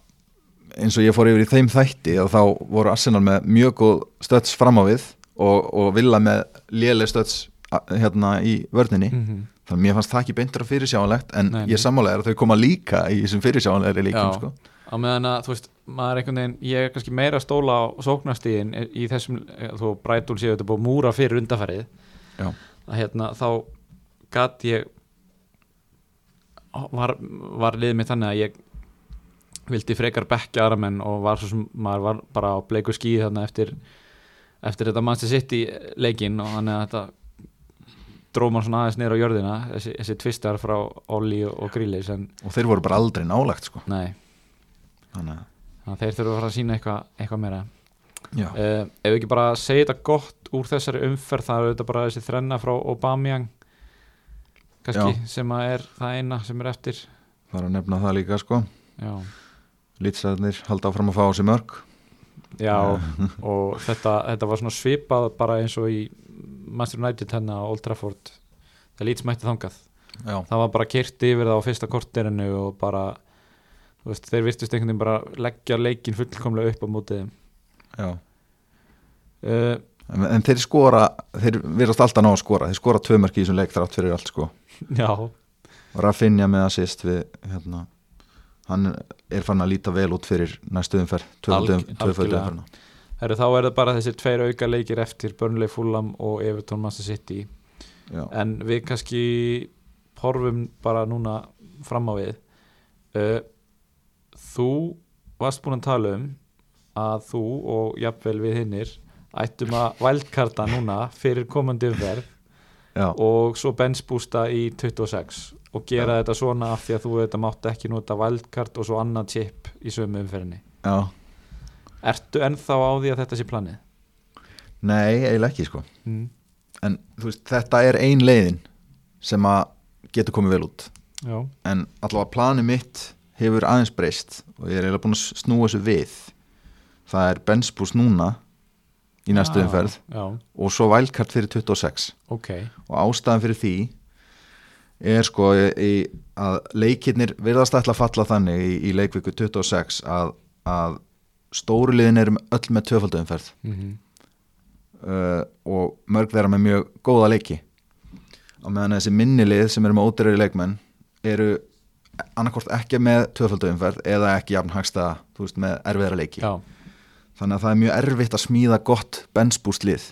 [SPEAKER 2] eins og ég fór yfir í þeim þætti og þá voru Arsenal með mjög góð stöts fram á við og, og vilja með léleg stöts a- hérna í vörninni
[SPEAKER 1] mm -hmm.
[SPEAKER 2] þannig að mér fannst það ekki beintur að fyrirsjáanlegt en
[SPEAKER 1] Nei, nei.
[SPEAKER 2] ég sammála er að þau koma líka í þessum fyrirsjáanlegri líkum
[SPEAKER 1] Já.
[SPEAKER 2] sko.
[SPEAKER 1] á meðan að þú veist maður er einhvern veginn, ég er kannski meira að stóla á sóknastíðin í þessum eh, þú brætul séu þetta búið að múra fyrir undanfarið
[SPEAKER 2] Já.
[SPEAKER 1] að hérna þá gat ég var, var liðið mig þannig að ég vildi frekar bekkja aðra menn og var svo sem maður var bara á bleiku skíði þannig eftir, eftir þetta mannstu sitt í leikin og þannig að þetta dró maður svona aðeins nýra á jörðina þessi, þessi tvistar frá Olli og, og Grílis en
[SPEAKER 2] og þeir voru bara aldrei nálagt sko.
[SPEAKER 1] nei
[SPEAKER 2] þannig að
[SPEAKER 1] þannig að þeir þurfa að fara að sína eitthvað, eitthvað meira
[SPEAKER 2] Já,
[SPEAKER 1] uh, ef við ekki bara segja þetta gott úr þessari umferð það er auðvitað bara þessi þrenna frá Aubameyang kannski sem að er það eina sem er eftir
[SPEAKER 2] það er að nefna það líka sko.
[SPEAKER 1] já,
[SPEAKER 2] Lýtsæðnir halda áfram að fá á sig mörg
[SPEAKER 1] já og þetta, þetta var svona svipað bara eins og í Master United hérna á Old Trafford það lít mætti þangað
[SPEAKER 2] Já,
[SPEAKER 1] það var bara kyrt yfir það á fyrsta korterinu og bara þú veist, þeir virtust einhvern veginn bara leggja leikin fullkomlega upp á mótið
[SPEAKER 2] já
[SPEAKER 1] uh,
[SPEAKER 2] En, en þeir skora, þeir verðast alltaf ná að skora þeir skora tvö mörki í þessum leik þrátt fyrir allt sko
[SPEAKER 1] já,
[SPEAKER 2] og Rafinha með assist við hérna, hann er fann að líta vel út fyrir næstu umferð um- tvöföldu
[SPEAKER 1] Alg-
[SPEAKER 2] tvöföldu
[SPEAKER 1] algjörlega.
[SPEAKER 2] umferðina
[SPEAKER 1] Heru, þá er það bara þessir tveir auka leikir eftir Burnley Fulham og Everton Master City
[SPEAKER 2] Já,
[SPEAKER 1] en við kannski horfum bara núna fram á við uh, þú varst búin að tala um að þú og jafnvel við hinnir ættum að vældkarta núna fyrir komandi umverð
[SPEAKER 2] já,
[SPEAKER 1] og svo benchbústa í 26 og gera þetta svona af því að þú þetta mátt ekki nota vældkart og svo annað chip í sömu umferðinni
[SPEAKER 2] já
[SPEAKER 1] Ertu ennþá á því að þetta sé planið?
[SPEAKER 2] Nei, eiginlega ekki sko
[SPEAKER 1] Mm.
[SPEAKER 2] en þú veist, þetta er ein leiðin sem að getur komið vel út
[SPEAKER 1] Já,
[SPEAKER 2] en allavega planið mitt hefur aðeins breyst og ég er eiginlega búin að s- snúa þessu við það er benspús núna í næstu
[SPEAKER 1] Já,
[SPEAKER 2] umferð
[SPEAKER 1] Ah. Já,
[SPEAKER 2] og svo vælkart fyrir 26
[SPEAKER 1] ok
[SPEAKER 2] og ástæðan fyrir því er sko í, í, að leikirnir virðast ætla að falla þannig í, í leikviku 26 að, að stóru liðin eru öll með tvöfaldumferð
[SPEAKER 1] mm
[SPEAKER 2] uh, og mörg þeirra með mjög góða leiki og meðan þessi minnilið sem eru með ódreiri leikmenn eru annarkort ekki með tvöfaldauðumferð eða ekki jafn hagsta þú veist, með erfiðara leiki
[SPEAKER 1] já,
[SPEAKER 2] þannig að það er mjög erfitt að smíða gott bensbústlið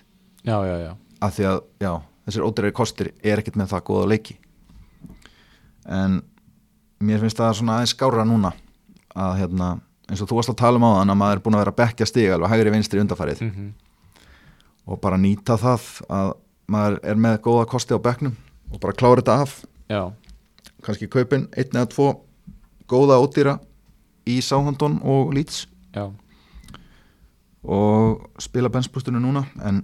[SPEAKER 1] já, já, já.
[SPEAKER 2] af því að já, þessir ódreiri kostir er ekkert með það góða leiki en mér finnst það svona aðeins skára núna að hérna, eins og þú varst að tala um á þann að maður er búin að vera að bekkja stig alveg hægri vinstri undarfærið
[SPEAKER 1] Mm -hmm.
[SPEAKER 2] og bara nýta það að maður er með góða kosti á bekknum og bara klára þetta af
[SPEAKER 1] já,
[SPEAKER 2] kannski kaupin einn eða tvo góða ódýra í Sáhandon og Leeds
[SPEAKER 1] já,
[SPEAKER 2] og spila benspústunum núna en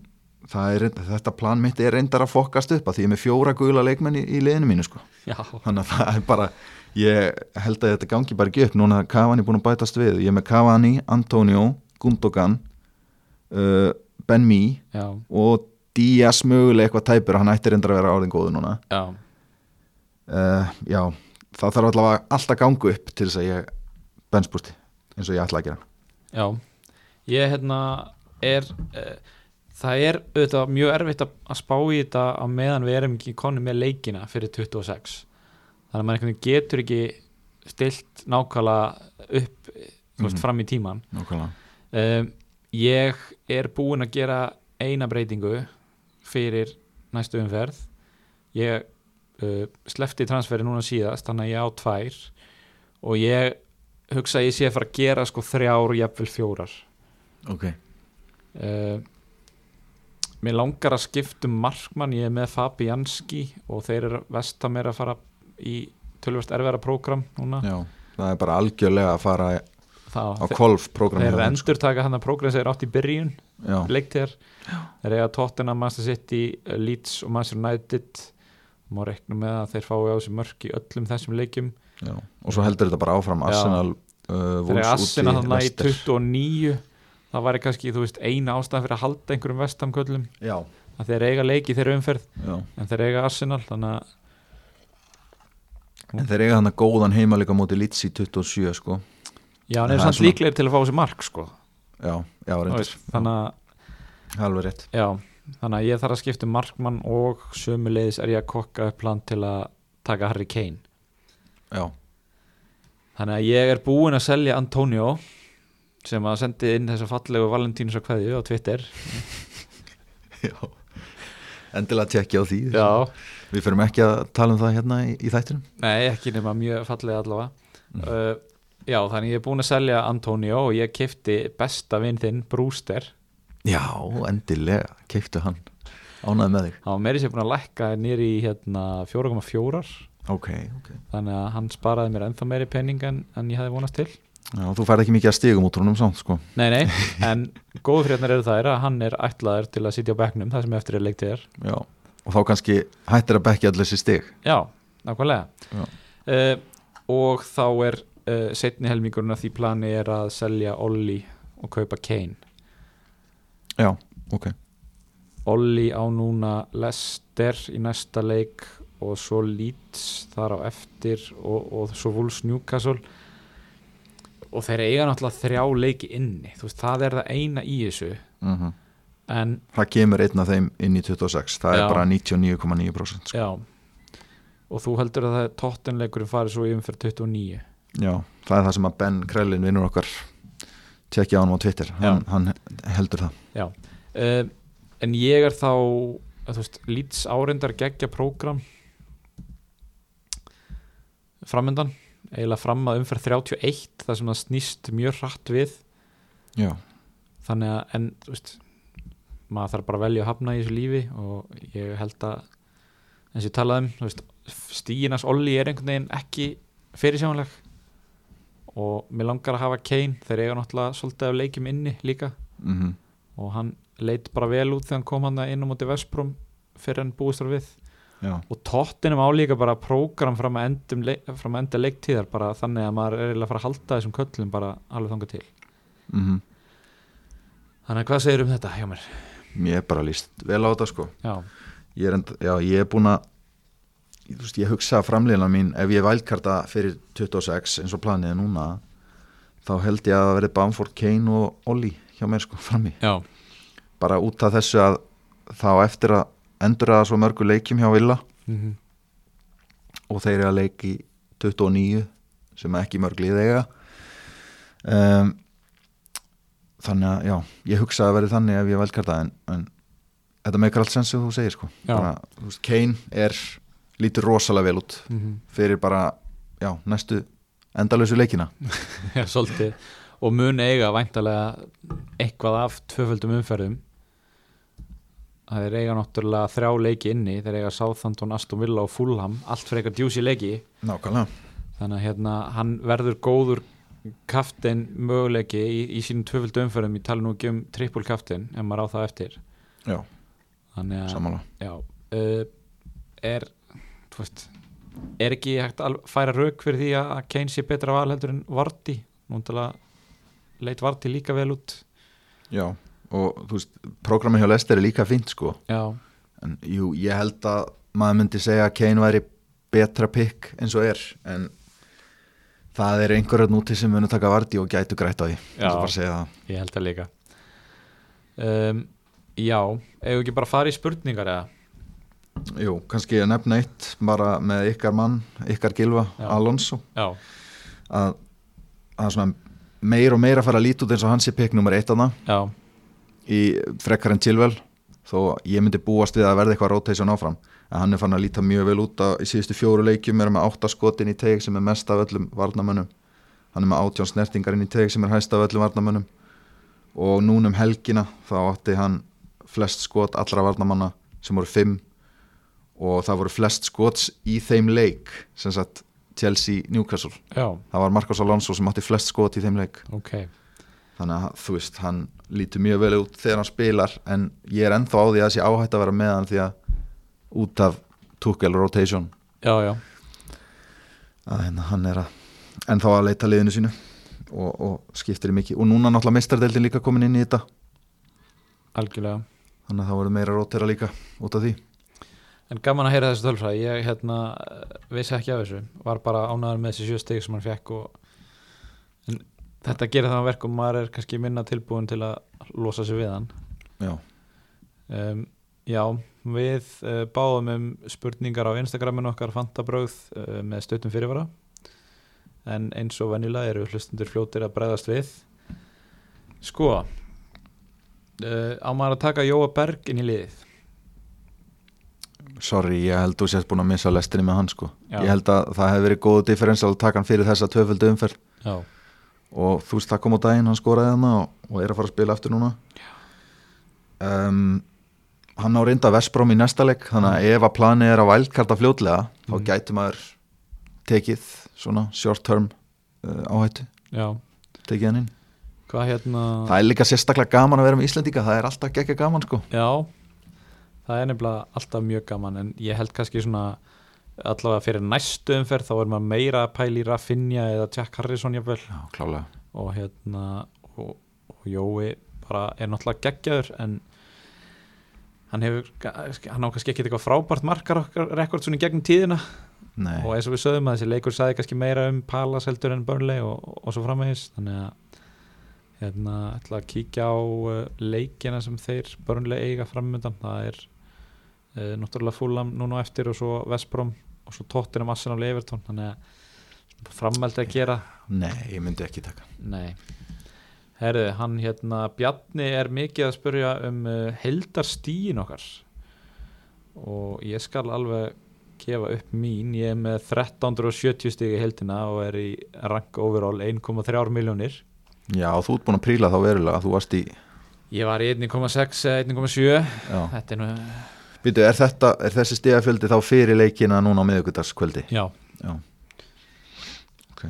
[SPEAKER 2] það er, þetta plan mitt er reyndar að fokkast upp að því ég er með fjóra gula leikmenn í, í liðinu mínu sko
[SPEAKER 1] já,
[SPEAKER 2] þannig að það er bara ég held að þetta gangi bara ekki upp núna er Cavani búin að bætast við ég er með Cavani, Antonio, Gundogan uh, Ben Mee
[SPEAKER 1] já,
[SPEAKER 2] og Díaz mögulega eitthvað tæpur hann ætti reyndar að vera áriðin góðu núna
[SPEAKER 1] já,
[SPEAKER 2] uh, já, það þarf allavega alltaf gangu upp til þess að ég benspústi eins og ég ætla að gera
[SPEAKER 1] já. Ég hérna er, uh, það er auðvitað mjög erfitt að, að spá í þetta á meðan við erum ekki konni með leikina fyrir 26. Þannig að maður einhvern veginn getur ekki stilt nákvæmlega upp, eh, þú veist,
[SPEAKER 2] Mhm.
[SPEAKER 1] fram í tíman.
[SPEAKER 2] Nákvæmlega.
[SPEAKER 1] um, ég er búinn að gera eina breytingu fyrir næstu umferð ég uh, slefti transferi núna síðast þannig að ég á tvær og ég hugsa að ég sé að fara að gera sko þrjár, jafnvel fjórar
[SPEAKER 2] ok,
[SPEAKER 1] uh, mér langar að skipta um markmann, ég er með Fabi Janski og þeir eru vestam er að fara í tölvöst erfæra prógram núna
[SPEAKER 2] já það er bara algjörlega að fara á sko.
[SPEAKER 1] það, þeir,
[SPEAKER 2] kolf prógram
[SPEAKER 1] þeir endur taka hann að prógram sem er átt í byrjun
[SPEAKER 2] já,
[SPEAKER 1] leiktir þeir eiga tóttina Master City, eh, Leeds og Master United má reikna með að þeir fái á þessu mörk í öllum þessum leikjum
[SPEAKER 2] já. og svo heldur þetta bara áfram
[SPEAKER 1] Já.
[SPEAKER 2] Arsenal uh,
[SPEAKER 1] þeir eiga
[SPEAKER 2] Wolves
[SPEAKER 1] Assina
[SPEAKER 2] úti,
[SPEAKER 1] þannig í
[SPEAKER 2] Leicester.
[SPEAKER 1] 29 það væri kannski, þú veist, eina ástæðan fyrir að halda einhverjum vestamköllum
[SPEAKER 2] já,
[SPEAKER 1] að þeir eiga leik í þeirra umferð
[SPEAKER 2] já
[SPEAKER 1] en þeir eiga Arsenal, þannig að
[SPEAKER 2] En þeir eiga þannig góðan heimalika móti Leeds í 27 sko
[SPEAKER 1] já, hann er
[SPEAKER 2] Það er
[SPEAKER 1] samt
[SPEAKER 2] svona-
[SPEAKER 1] líklegir til að fá þessu mark sko,
[SPEAKER 2] Já, já,
[SPEAKER 1] Þú
[SPEAKER 2] reyndar
[SPEAKER 1] veist, þannig að
[SPEAKER 2] Já, Alveg rétt
[SPEAKER 1] Já, þannig að ég þarf að skipta um markmann og sömuleiðis er ég að kokka upp plan til að taka Harry Kane
[SPEAKER 2] Já,
[SPEAKER 1] Þannig að ég er búinn að selja Antonio sem að sendi inn þessa fallegu Valentínu svo kveðju á Twitter
[SPEAKER 2] já Endilega tekja á því
[SPEAKER 1] Já,
[SPEAKER 2] Við fyrir ekki að tala um það hérna í, í þættinum
[SPEAKER 1] nei ekki nema mjög fallega allavega uh, Já, þannig ég er búinn að selja Antonio og ég kefti besta vinn þinn, Brewster
[SPEAKER 2] Já, endilega, keiptu hann Ánæði með þig
[SPEAKER 1] hann var meiri sér búinn að lækka nýri í hérna 4,4
[SPEAKER 2] Ok, ok
[SPEAKER 1] þannig að hann sparaði mér ennþá meiri pening en, en ég hafði vonast til
[SPEAKER 2] Já, þú færð ekki mikið að stigum út úr húnum samt sko
[SPEAKER 1] Nei, nei, en góðu frétnar eru þær að hann er ætlaður til að sitja á bekknum það sem eftir er leiktið er
[SPEAKER 2] Já Og þá kannski hættir að bekki allir þessi stig
[SPEAKER 1] Já, nákvæmlega
[SPEAKER 2] Já.
[SPEAKER 1] uh, Og þá er uh, setni helmingurinn að því plani er að selja Olli og kaupa Kane
[SPEAKER 2] Já, ok
[SPEAKER 1] Olli á núna Lester í næsta leik og svo Leeds þar á eftir og, og svo Wolves Newcastle og þeir eiga náttúrulega þrjá leiki inni þú veist, það er það eina í þessu
[SPEAKER 2] mm
[SPEAKER 1] en
[SPEAKER 2] Það kemur einn af þeim inn í 26 Það
[SPEAKER 1] Já.
[SPEAKER 2] er bara 99,9% sko.
[SPEAKER 1] já og þú heldur að það tóttinleikurinn fari svo í umferð 29
[SPEAKER 2] Já, það er það sem að Ben Krellin vinnur okkar tekja á hann á Twitter hann, hann heldur það
[SPEAKER 1] Já, um, en ég er þá að þú veist, lýts áreindar geggja prógram framöndan eiginlega fram að umferð 31 þar sem það snýst mjög hratt við
[SPEAKER 2] Já,
[SPEAKER 1] þannig að, en þú veist maður þarf bara að velja að hafna í þessu lífi og ég held að eins og ég talaði um, þú veist stíginans Olli er einhvern veginn ekki fyrirsjónleg og mér langar að hafa Kane þeir eiga náttúrulega svolítið af leikjum inni líka
[SPEAKER 2] mm
[SPEAKER 1] og hann leit bara vel út þegar hann kom hann inn á móti Vesprum fyrir hann búist þar við
[SPEAKER 2] já,
[SPEAKER 1] og tóttinum álíka bara prógram fram að, endum, leik- fram að enda leiktíðar bara þannig að maður er eiginlega að fara að halda þessum köllum bara alveg þangað til
[SPEAKER 2] mm
[SPEAKER 1] þannig að hvað segir um þetta hjá mér?
[SPEAKER 2] Ég er bara líst vel á þetta sko
[SPEAKER 1] Já,
[SPEAKER 2] Ég er, enda, já, ég er búin að þú veist, ég hugsa að framlýna mín ef ég vælkarta fyrir 26 eins og planið er núna þá held ég að það verði Bamford, Kane og Olli hjá mér sko frammi
[SPEAKER 1] já,
[SPEAKER 2] bara út af þessu að þá eftir
[SPEAKER 1] Mhm,
[SPEAKER 2] að endur að svo mörgu leikjum hjá Villa
[SPEAKER 1] mm -hmm.
[SPEAKER 2] og þeir eru að leiki 29 sem ekki mörg lið eiga um, þannig að já, ég hugsa að verði þannig ef ég velkarta en, en þetta meikar allt sens sem þú segir sko
[SPEAKER 1] Já.
[SPEAKER 2] bara, þú veist, Kane er lítur rosalega vel út
[SPEAKER 1] mm -hmm.
[SPEAKER 2] fyrir bara, já, næstu endalösu leikina
[SPEAKER 1] Já, svolítið og mun eiga væntalega eitthvað af tvöföldum umferðum það er eiga náttúrulega þrjá leiki inni, þeir eiga Southampton, Aston Villa og Fulham, allt frekar djúsi leiki
[SPEAKER 2] Nákvæmlega
[SPEAKER 1] þannig að hérna, hann verður góður kaftin möguleiki í, í sínum tvöföldu umferðum, ég tala nú ekki um trippul kaftin, ef maður á það eftir
[SPEAKER 2] Já,
[SPEAKER 1] þannig að
[SPEAKER 2] sammála
[SPEAKER 1] já, uh, er þú veist, er ekki hægt að færa rauk fyrir því að Kane sé betra val heldur en Varti núndalega leit Varti líka vel út
[SPEAKER 2] Já, og þú veist, prógramin hjá Lester er líka fínt sko
[SPEAKER 1] já,
[SPEAKER 2] en jú, ég held að maður myndi segja að Kane væri betra pick eins og er en það er einhverjum núti sem munu taka varti og gætu grætt á því Ég
[SPEAKER 1] Já.
[SPEAKER 2] ætla bara að segja það.
[SPEAKER 1] ég held það líka um, já, ef við ekki bara fara í spurningar eða,
[SPEAKER 2] Jú, kannski að nefna eitt bara með ykkar mann, ykkar gilva
[SPEAKER 1] Já.
[SPEAKER 2] Alonso,
[SPEAKER 1] já,
[SPEAKER 2] að það er svona meir og meira að fara að líti út eins og hans er pick nummer eitt af það
[SPEAKER 1] já,
[SPEAKER 2] í frekkar en tilvel þó ég myndi búast við að verða eitthvað rotation áfram en hann er fann að líta mjög vel út að, í síðustu fjóru leikjum er hann með átta skotin í teg sem er mest af öllum varnamönnum hann er með átján snertingar inn í teg sem er hæst af öllum varnamönnum og núna um helgina þá átti hann flest skot allra varnamanna sem voru fimm og það voru flest skots í þeim leik sem sagt Chelsea Newcastle
[SPEAKER 1] já,
[SPEAKER 2] það var Marcos Alonso sem átti flest skot í þeim leik
[SPEAKER 1] ok
[SPEAKER 2] þannig að þú veist, hann lítur mjög vel út þegar hann spilar en ég er ennþá á því að það sé áhætt að vera með hann því að út af tukkel rotation
[SPEAKER 1] já, já,
[SPEAKER 2] að hérna, hann er að ennþá að leita liðinu sínu og, og skiptir í mikið og núna náttúrulega meistardeldin líka komin inn í þetta
[SPEAKER 1] algjörlega
[SPEAKER 2] þannig að það voru meira rotera líka út af því
[SPEAKER 1] En gaman að heyra þessu tölfræði, ég hérna vissi ekki af þessu, var bara ánæður með þessi sjö stig sem hann fekk og en þetta gerir það að verkum maður er kannski minna tilbúin til að losa sig við hann.
[SPEAKER 2] já,
[SPEAKER 1] Um, já, við uh, báðum um spurningar á Instagraminu okkar Fantabröð uh, með stöttum fyrirvara en eins og venjulega eru hlustundur fljótir að bregðast við. Sko, uh, á maður að taka Jóa Berg inn í liðið?
[SPEAKER 2] sorry, ég held þú sést búin að missa lestinni með hann sko
[SPEAKER 1] Já.
[SPEAKER 2] ég held að það hefði verið góð differential að taka hann fyrir þessa tvöföldu umferð
[SPEAKER 1] Já.
[SPEAKER 2] og þú veist það kom á daginn, hann skoraði hann og, og er að fara að spila aftur núna um, hann á reynda Vespróm í næsta leik þannig að ef að planið er að vældkarta fljótlega
[SPEAKER 1] Mhm.
[SPEAKER 2] þá gæti maður tekið svona short term uh, áhættu,
[SPEAKER 1] Já,
[SPEAKER 2] tekið hann inn
[SPEAKER 1] hvað hérna...
[SPEAKER 2] það er líka sérstaklega gaman að vera með Íslendinga það er alltaf gekkja gaman sko
[SPEAKER 1] Já, það er nefnilega alltaf mjög gaman en ég held kannski svona allavega fyrir næstu umferð þá er maður meira að pæla í Rafinha eða Jack Harrison jafnvel
[SPEAKER 2] Já, klálega
[SPEAKER 1] og hérna og, og Jói bara er náttúrulega geggjaður en hann hefur hann á kannski ekki eitthvað frábært markar okkar rekord svona í gegnum tíðina
[SPEAKER 2] Nei,
[SPEAKER 1] og eins og við sögum að þessi leikur sagði kannski meira um Palas heldur en Burnley og, og svo framvegis þannig að hérna ætla að kíkja á uh, leikina sem þeir Burnley eiga framöndan það er uh, náttúrulega Fulham núna á eftir og svo Vestbrom og svo Tottenham Arsenal Everton þannig að frammeldi að gera
[SPEAKER 2] nei, ég myndi ekki taka
[SPEAKER 1] nei Herðu, hann hérna, Bjarni er mikið að spurja um uh, heldarstíin okkar og ég skal alveg gefa upp mín, ég er með 1370 stig í heldina og er í rank overall 1,3 miljónir
[SPEAKER 2] Já, þú ert búin að príla þá verulega þú varst í
[SPEAKER 1] Ég var í 1,6 eða 1,7
[SPEAKER 2] já.
[SPEAKER 1] Þetta er nú,
[SPEAKER 2] Býtu, er, þetta, er þessi stíðafjöldi þá fyrir leikina núna á miðvikudagskvöldi?
[SPEAKER 1] já
[SPEAKER 2] Já. Ok.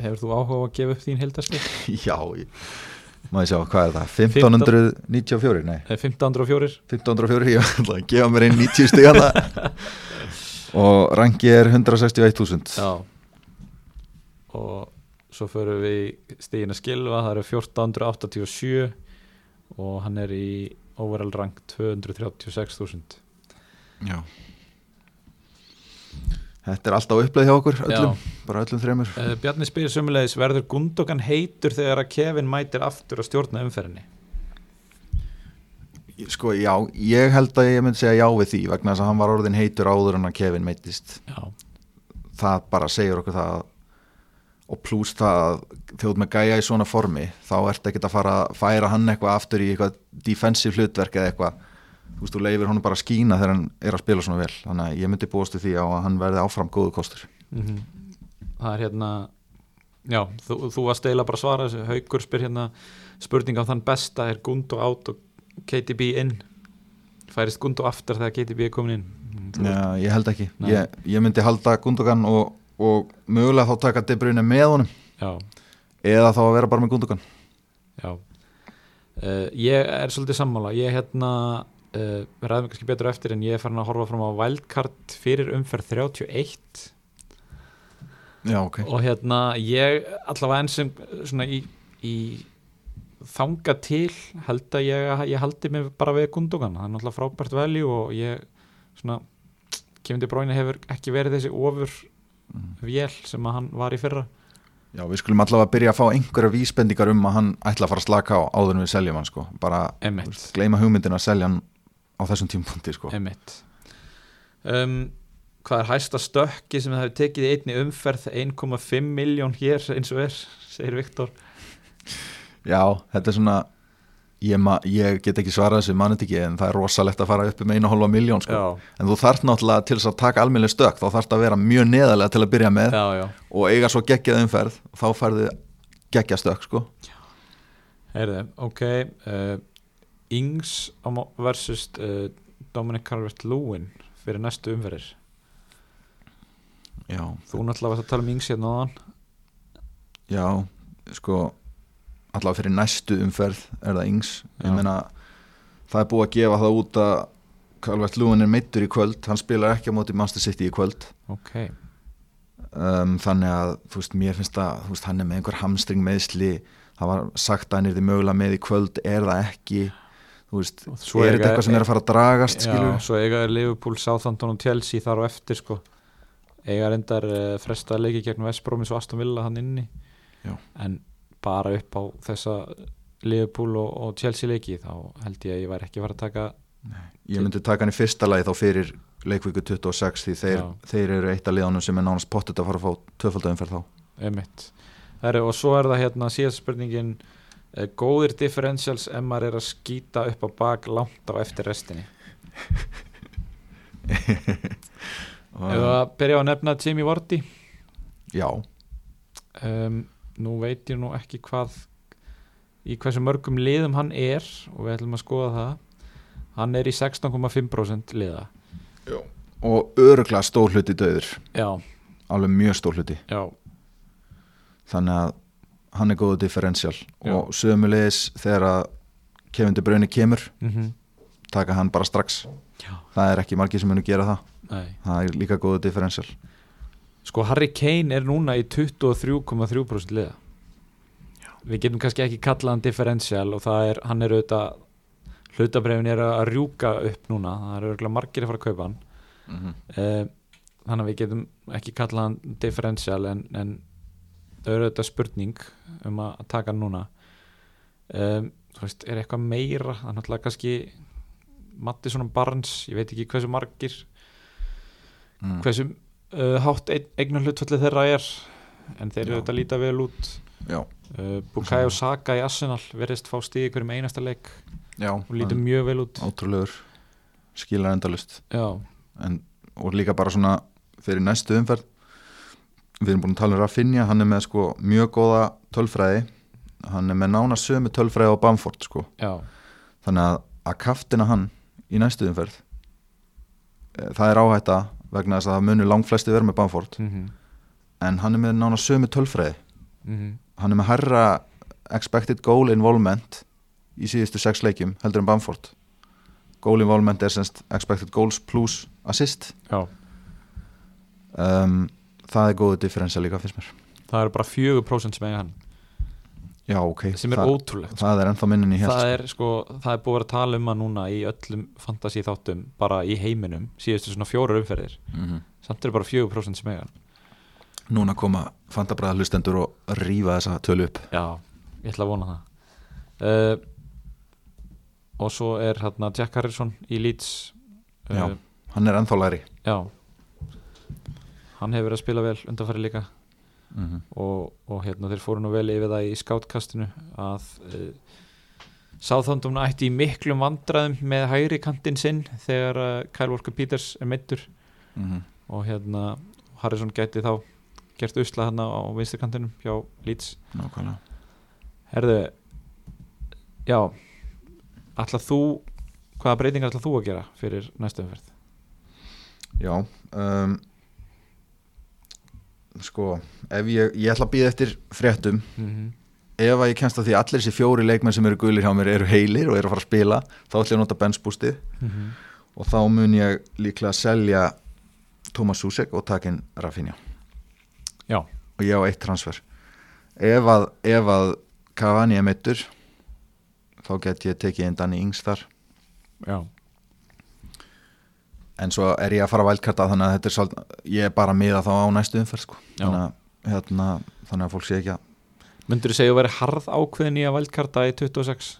[SPEAKER 1] Hefur þú áhuga á að gefa upp þín heldarstíð?
[SPEAKER 2] Já, ég- maður sjá, hvað er það? 1594, nei,
[SPEAKER 1] 1504
[SPEAKER 2] 1504, ég ætla að gefa mér einn 90 stíðan og rangi er 161.000
[SPEAKER 1] Já Og svo förum við í stigin að skilfa Það eru 1487 Og hann er í overall rank 236.000
[SPEAKER 2] Já. Þetta er alltaf uppleið hjá okkur,
[SPEAKER 1] Já.
[SPEAKER 2] öllum, bara öllum þremur.
[SPEAKER 1] uh, Bjarni spyrir sömulegis Verður Gundogan heitur þegar að Kevin mætir aftur að stjórna umferðinni?
[SPEAKER 2] Sko, já, ég held að ég myndi segja já við því vegna þess að hann var orðin heitur áður en að Kevin meittist.
[SPEAKER 1] Já,
[SPEAKER 2] það bara segir okkur það að- og pluss það að þegar þú ert með gæja í svona formi þá ert ekkert að fara að færa hann eitthvað aftur í eitthvað defensive hlutverk eða eitthvað þú veist, þú leifir honum bara að skína þegar hann er að spila svona vel þannig að ég myndi búast við því á að hann verði áfram góðu kostur
[SPEAKER 1] Mhm. það er hérna já, þú, þú varst eiginlega bara að svara þessu haukur spyr hérna spurning á þann besta er Gundo átt og KTB inn færist Gundo aftar þegar KTB er komin inn Þú-
[SPEAKER 2] Já, ég held ekki,
[SPEAKER 1] Nei.
[SPEAKER 2] ég, ég myndi halda Gundogan og, og mögulega þá taka De Bruyne með honum
[SPEAKER 1] já,
[SPEAKER 2] eða þá að vera bara með Gundogan
[SPEAKER 1] já uh, ég er svolítið sammála ég hérna, uh, við ræðum kannski betur á eftir en ég er farin að horfa fram á wildcard fyrir umferð 31
[SPEAKER 2] Já, ok
[SPEAKER 1] og hérna ég allavega enn sem uh, svona í, í þanga til held að ég, ég haldi mig bara við Gundogan, það er náttúrulega frábært velju og ég svona Kevin De Bruyne hefur ekki verið þessi ofur vél sem að hann var í fyrra
[SPEAKER 2] Já, við skulum allavega byrja að fá einhverja vísbendingar um að hann ætla að fara að slaka á áður en við seljum hann sko, bara þú
[SPEAKER 1] emitt,
[SPEAKER 2] veist, gleyma hugmyndin að selja hann á þessum tímpunkti sko
[SPEAKER 1] emitt. Um, hvað er hæsta stökki sem það hefur tekið í einni umferð 1,5 miljón hér eins og er segir Viktor
[SPEAKER 2] Já, þetta er svona ég, ma, ég get ekki svarað þessu, mann þetta ekki en það er rosalegt að fara upp um einu og hálfa miljón sko.
[SPEAKER 1] já,
[SPEAKER 2] en þú þarft náttúrulega til þess að taka almennlega stök þá þarft að vera mjög neðarlega til að byrja með
[SPEAKER 1] já, já.
[SPEAKER 2] og eiga svo geggjað umferð þá færðu geggjað stök sko.
[SPEAKER 1] Heyrðu, ok uh, Ings á mó- versus uh, Dominic Calvert-Lewin fyrir næstu umferðir
[SPEAKER 2] Já,
[SPEAKER 1] þú náttúrulega varst að tala um Ings hérna áðan
[SPEAKER 2] já sko allavega fyrir næstu umferð er það yngs
[SPEAKER 1] Já.
[SPEAKER 2] ég meina það er búið að gefa það út að Calvert Lúin er meittur í kvöld hann spilar ekki á móti Master City í kvöld
[SPEAKER 1] ok,
[SPEAKER 2] um, þannig að þú veist, mér finnst að þú veist, hann er með einhver hamstring meðsli það var sagt að hann er því mögulega með í kvöld er það ekki þú veist,
[SPEAKER 1] Og svo
[SPEAKER 2] er
[SPEAKER 1] eiga-
[SPEAKER 2] þetta eitthvað sem er að fara að dragast skilur
[SPEAKER 1] já, svo eiga er Liverpool, Southampton og Chelsea þar á eftir sko eiga reyndar uh, fresta leiki gegn Vestbrómis og Aston Villa hann inni
[SPEAKER 2] Já.
[SPEAKER 1] en bara upp á þessa Liverpool og, og Chelsea leiki þá held ég að ég væri ekki að fara að taka
[SPEAKER 2] Ég myndi taka hann í fyrsta lagi þá fyrir leikvíku 26 því þeir,
[SPEAKER 1] Já.
[SPEAKER 2] þeir eru eitt af liðanum sem er nánast pottet að fara að fá tvöfaldöðum fyrir þá.
[SPEAKER 1] Einmitt. Heru, og svo er það hérna síðast spurningin eh, góðir differentials ef maður er að skýta upp á bak langt á eftir restinni ef það byrja á að nefna Jimmy Vardy
[SPEAKER 2] Já,
[SPEAKER 1] um, nú veit ég nú ekki hvað í hversu mörgum liðum hann er og við ætlum að skoða það hann er í 16,5% liða
[SPEAKER 2] og öruglega stór hluti döður,
[SPEAKER 1] já,
[SPEAKER 2] alveg mjög stór hluti
[SPEAKER 1] já,
[SPEAKER 2] þannig að hann er góðu differential og sömulegis þegar að Kevin De Bruyne kemur,
[SPEAKER 1] mm
[SPEAKER 2] taka hann bara strax
[SPEAKER 1] já
[SPEAKER 2] það er ekki margir sem munu gera það,
[SPEAKER 1] nei.
[SPEAKER 2] það er líka góðu differential
[SPEAKER 1] Sko Harry Kane er núna í 23,3% liða Við getum kannski ekki kallað hann differential og það er, hann er auðvitað hlutabrefin er að rjúka upp núna það er auðvitað margir að fara að kaupa hann Eh, þannig að við getum ekki kallað hann differential en, en það eru auðvitað spurning um að að taka hann núna um, þú veist, er eitthvað meira það er náttúrulega kannski Mattisson og Barnes, ég veit ekki hversu margir
[SPEAKER 2] Mm.
[SPEAKER 1] hversu uh, hátt eignar hlutfalli þeirra er en þeir eru
[SPEAKER 2] Já.
[SPEAKER 1] auðvitað líta vel út
[SPEAKER 2] Já,
[SPEAKER 1] uh, Bukayo Saka í Arsenal verðist fá stíð í hverjum einasta leik
[SPEAKER 2] já,
[SPEAKER 1] og lítur mjög vel út
[SPEAKER 2] átrúlegur skilar endalust
[SPEAKER 1] já,
[SPEAKER 2] en, og líka bara svona fyrir næstu umferð við erum búin að tala um Rafinha hann er með sko mjög góða tölfræði hann er með nána sömu tölfræði á Bamford sko.
[SPEAKER 1] já,
[SPEAKER 2] þannig að að kaftina hann í næstu umferð eh, það er áhætta vegna þess að það munu langflesti verið með Bamford
[SPEAKER 1] mm
[SPEAKER 2] en hann er með nána sömu tölfræði
[SPEAKER 1] mhm.
[SPEAKER 2] hann er með herra expected goal involvement í síðustu sex leikjum heldur en Bamford goal involvement er semst expected goals plus assist
[SPEAKER 1] já
[SPEAKER 2] um, það er góðu differensa líka fyrst mér
[SPEAKER 1] það eru bara 4% sem eiga hann
[SPEAKER 2] já ok,
[SPEAKER 1] sem er
[SPEAKER 2] það,
[SPEAKER 1] ótrúlegt sko.
[SPEAKER 2] það er ennþá minnin í hér
[SPEAKER 1] það er, sko, það er búið að vera að tala um að núna í öllum fantasy þáttum bara í heiminum síðustu svona fjórar umferðir
[SPEAKER 2] Mhm.
[SPEAKER 1] samt eru bara 4% sem eiga hann
[SPEAKER 2] núna koma fantabræða hlustendur og rífa þessa tölu upp
[SPEAKER 1] já, ég ætla að vona það uh, og svo er hérna Jack Harrison í Leeds
[SPEAKER 2] Já. hann er ennþá læri
[SPEAKER 1] já. hann hefur verið að spila vel undanfæri líka
[SPEAKER 2] mm -hmm.
[SPEAKER 1] og, og hérna þeir fóru nú vel yfir það í skátkastinu að uh, Sáþóndum ætti í miklum vandræðum með hægri kantinn sinn þegar uh, Kyle Walker Peters er meittur
[SPEAKER 2] Mm -hmm.
[SPEAKER 1] og hérna Harrison gæti þá gert usla hérna á vinstri kantinum hjá Leeds
[SPEAKER 2] Nákvæmlega
[SPEAKER 1] Herðu, já ætlað þú hvaða breytingar ætlað þú að gera fyrir næstu umferð?
[SPEAKER 2] Já um, Sko ef ég, ég ætla að býða eftir fréttum
[SPEAKER 1] Mm -hmm.
[SPEAKER 2] ef að ég kemst að því að allir þessi fjóri leikmenn sem eru gulir hjá mér eru heilir og eru að fara að spila þá ætla ég að nota benchboostið
[SPEAKER 1] Mhm.
[SPEAKER 2] og þá mun ég líklega að selja Thomas Susek og takin Rafinha
[SPEAKER 1] Já.
[SPEAKER 2] og ég á eitt transfer ef að, ef að Cavani er meittur þá get ég tekið einn Danny Ings þar
[SPEAKER 1] Já,
[SPEAKER 2] en svo er ég að fara vælkarta þannig að þetta er svolít, ég er bara að miða þá á næstu umferð sko.
[SPEAKER 1] Já.
[SPEAKER 2] þannig, að, hérna, þannig að fólk sé ekki að
[SPEAKER 1] myndur þú segja að vera harð ákveðin í að vældkarta í 26?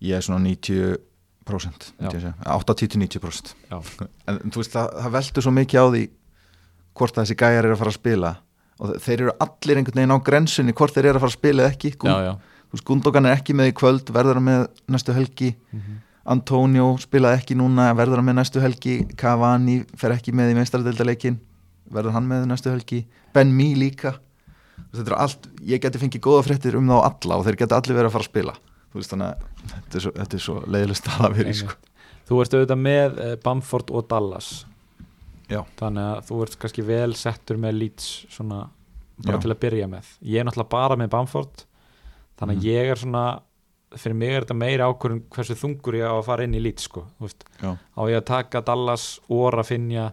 [SPEAKER 2] ég er svona 90%
[SPEAKER 1] Já.
[SPEAKER 2] 80-90%
[SPEAKER 1] Já.
[SPEAKER 2] en þú veist það, það veldur svo mikið á því hvort að þessi gæjar eru að fara að spila og þe- þeir eru allir einhvern veginn á grensunni hvort þeir eru að fara að spila eða ekki Gund,
[SPEAKER 1] já
[SPEAKER 2] þú veist, Gundogan er ekki með í kvöld verður hann með næstu helgi
[SPEAKER 1] Mhm.
[SPEAKER 2] Antonio spilaði ekki núna verður hann með næstu helgi Cavani fer ekki með í meistaradeldaleikin verður hann með næstu helgi Ben Mee líka Þú veist, þetta er allt, ég geti fengið góða fréttir um þá alla og þeir geti allir verið að fara að spila þú veist þannig að þetta er svo, þetta er svo leiðileg staða að vera í sko
[SPEAKER 1] Einmitt. Þú ert auðvitað með eh, Bamford og Dallas
[SPEAKER 2] Já.
[SPEAKER 1] Þannig að þú ert kannski vel settur með Leeds svona bara
[SPEAKER 2] Já.
[SPEAKER 1] til að byrja með Ég er náttúrulega bara með Bamford þannig að
[SPEAKER 2] Mhm.
[SPEAKER 1] ég er svona fyrir mig er þetta meira ákvörðum hversu þungur ég á að fara inn í Leeds sko, þú veist,
[SPEAKER 2] Já.
[SPEAKER 1] á ég að taka Dallas og Rafinha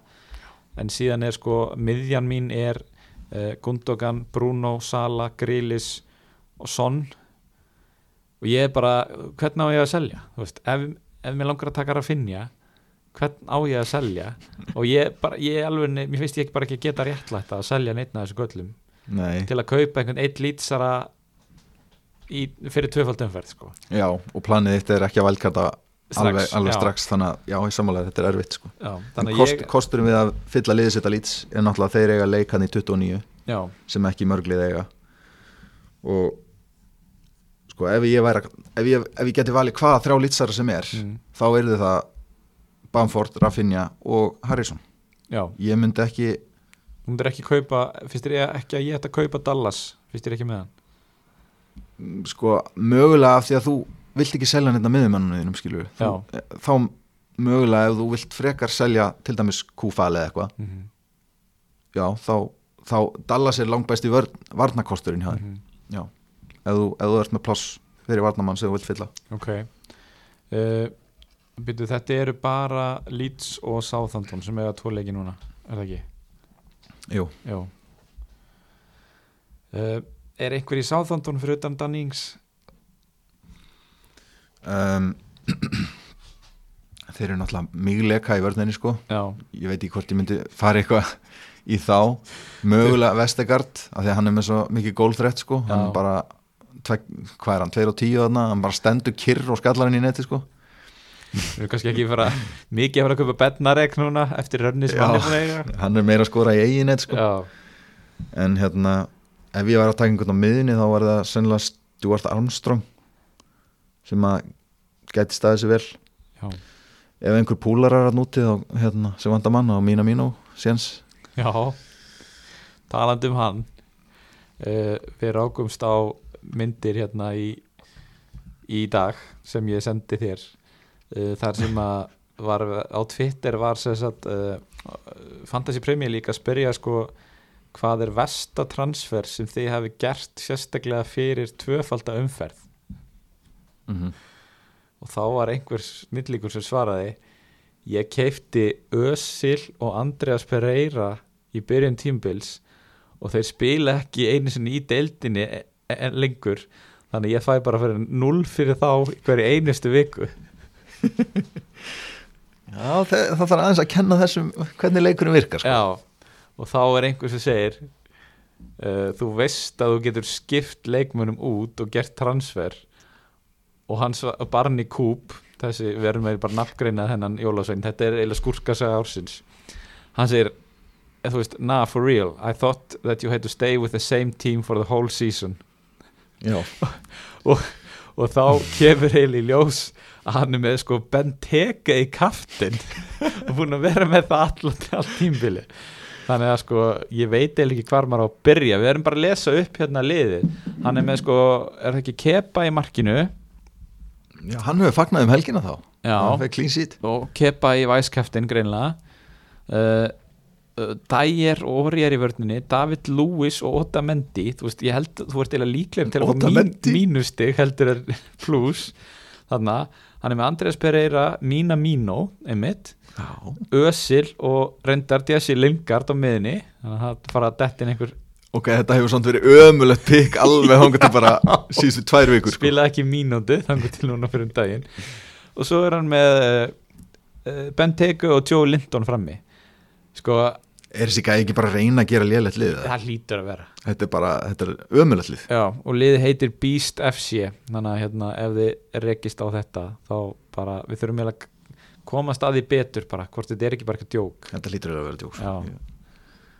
[SPEAKER 1] en síðan er sko miðjan mín er uh, Gundogan, Bruno, Sala Grilis og Son og ég er bara hvern á ég að selja Þú veist, ef, ef mér langar að taka Rafinha hvern á ég að selja og ég, bara, ég alveg, mér finnst ég bara ekki að geta réttlætt að selja neittna þessu göllum
[SPEAKER 2] Nei,
[SPEAKER 1] til að kaupa einhvern eitt lýtsara í, fyrir tvöfaldumferð sko.
[SPEAKER 2] já, og planið þitt er ekki að valkarta alveg, alveg
[SPEAKER 1] já.
[SPEAKER 2] strax þannig að, já, ég samanlega þetta er erfitt sko.
[SPEAKER 1] Já,
[SPEAKER 2] en
[SPEAKER 1] þannig að
[SPEAKER 2] kost,
[SPEAKER 1] ég,
[SPEAKER 2] kosturum við að fylla liðið sitt að lýts er náttúrulega að þeir eiga leikan í 29
[SPEAKER 1] já,
[SPEAKER 2] sem ekki mörglið eiga og sko, ef ég væri að- ef ég, ef ég geti valið hvaða þrjá lýtsara sem er
[SPEAKER 1] Mm.
[SPEAKER 2] þá eru það Bamford, Rafinha og Harrison
[SPEAKER 1] já,
[SPEAKER 2] ég myndi ekki,
[SPEAKER 1] þú myndir ekki kaupa finnst þér ekki að ég ætti að kaupa Dallas finnst þér ekki með hann
[SPEAKER 2] mm, sko, mögulega af því að þú vilt ekki selja hérna miðumannunum þínum skilur þú, eh, þá mögulega ef þú vilt frekar selja til dæmis Kúfali eða eitthvað
[SPEAKER 1] mm -hmm.
[SPEAKER 2] já, þá, þá Dallas er langbæsti vörn, varnakosturinn hjá þér
[SPEAKER 1] Mhm.
[SPEAKER 2] já, ef þú, ef þú ert með pláss fyrir varnamann sem þú vilt fylla
[SPEAKER 1] ok uh, byrju, þetta eru bara Leeds og Southampton sem eiga tvo leiki núna, er það ekki?
[SPEAKER 2] Jú.
[SPEAKER 1] já uh, er einhver í Southampton fyrir utan Dannings?
[SPEAKER 2] um, þeir eru náttúrulega mjög leka í vörninni sko
[SPEAKER 1] já,
[SPEAKER 2] ég veit ekki hvort ég myndi fara eitthvað í þá, mögulega Vestegard af því að hann er með svo mikið gólþrætt sko hann
[SPEAKER 1] Já.
[SPEAKER 2] bara, tvek, hvað er hann, 2 og 10 þarna, hann bara stendur kyrr og skallar hann í neti sko
[SPEAKER 1] við erum kannski ekki fara mikið að fara að kaupa Bednarek núna eftir rönni sem
[SPEAKER 2] Já.
[SPEAKER 1] hann er búin að eiga
[SPEAKER 2] hann er meira að skora í eigin net sko
[SPEAKER 1] já,
[SPEAKER 2] en hérna, ef ég var að taka einhvern á miðinni þá var það sennilega Stuart Armstrong sem að gæti staðið sér vel
[SPEAKER 1] já,
[SPEAKER 2] ef einhver púlarar að núti þá hérna, sem vandar manna og mína mínu séns
[SPEAKER 1] já talandi um hann uh, við rákumst á myndir hérna í í dag sem ég sendi þér uh, þar sem að var, á Twitter var sem sagt uh, Fantasy Premier League að spyrja sko hvað er versta transfer sem þið hafi gert sérstaklega fyrir tvöfalda umferð
[SPEAKER 2] mm -hmm.
[SPEAKER 1] og þá var einhver snillíkur sem svaraði ég keipti Ösil og Andreas Pereira í byrjun tímbils og þeir spila ekki einu sinni í deildinni e- e- lengur þannig að ég fæ bara fyrir null fyrir þá hverju einustu viku
[SPEAKER 2] Já, það, það þarf aðeins að kenna þessum hvernig leikurinn virkar sko.
[SPEAKER 1] Já, og þá er einhver sem segir uh, þú veist að þú getur skipt leikmönum út og gert transfer og hans barni Kúp þessi, við erum með bara nafngreinað hennan Jólasvein, þetta er eiginlega skúrkasaga ársins hann segir eh, þú veist, nah for real I thought that you had to stay with the same team for the whole season
[SPEAKER 2] já,
[SPEAKER 1] og þá kemur heil í ljós að hann er með sko Benteke í kaftin og búin að vera með það allan all tímbili þannig að sko ég veit eða ekki hvar maður á að byrja við erum bara að lesa upp hérna liðið hann er með sko, er það ekki Kepa í markinu
[SPEAKER 2] já, hann hefur fagnat um helgina þá hann
[SPEAKER 1] já,
[SPEAKER 2] fekk clean seat
[SPEAKER 1] og Kepa í væskaftin greinlega uh, uh, Dyer og Orger í vörninni David Lewis og Otamendi þú veist, ég held, þú ert eða líklegum til að fá mín,
[SPEAKER 2] Otamendi?
[SPEAKER 1] mínustig heldur er plus þannig að hann er með Andrés Pereira Mina Mino, einmitt
[SPEAKER 2] já,
[SPEAKER 1] Ösil og reyndar Jesse Lingard á miðinni þannig að það fara að dettin einhver
[SPEAKER 2] ok, þetta hefur samt verið ömulegt pikk alveg hangað til bara síðustu tvær vikur sko.
[SPEAKER 1] spilaði ekki mínútu þangur til núna fyrir um daginn og svo er hann með uh, Ben Teke og Joe Linton frammi sko,
[SPEAKER 2] er þessi gæði ekki bara að reyna að gera lélegt lið eða?
[SPEAKER 1] það lítur að vera
[SPEAKER 2] þetta er bara, þetta er ömulegt lið
[SPEAKER 1] já, og liðið heitir Beast FC þannig að hérna, ef þið rekist á þetta þá bara, við þurfum eiginlega að komast að því betur bara, hvort þetta er ekki bara eitthvað djók
[SPEAKER 2] þetta lítur eiginlega að vera djóks
[SPEAKER 1] Já.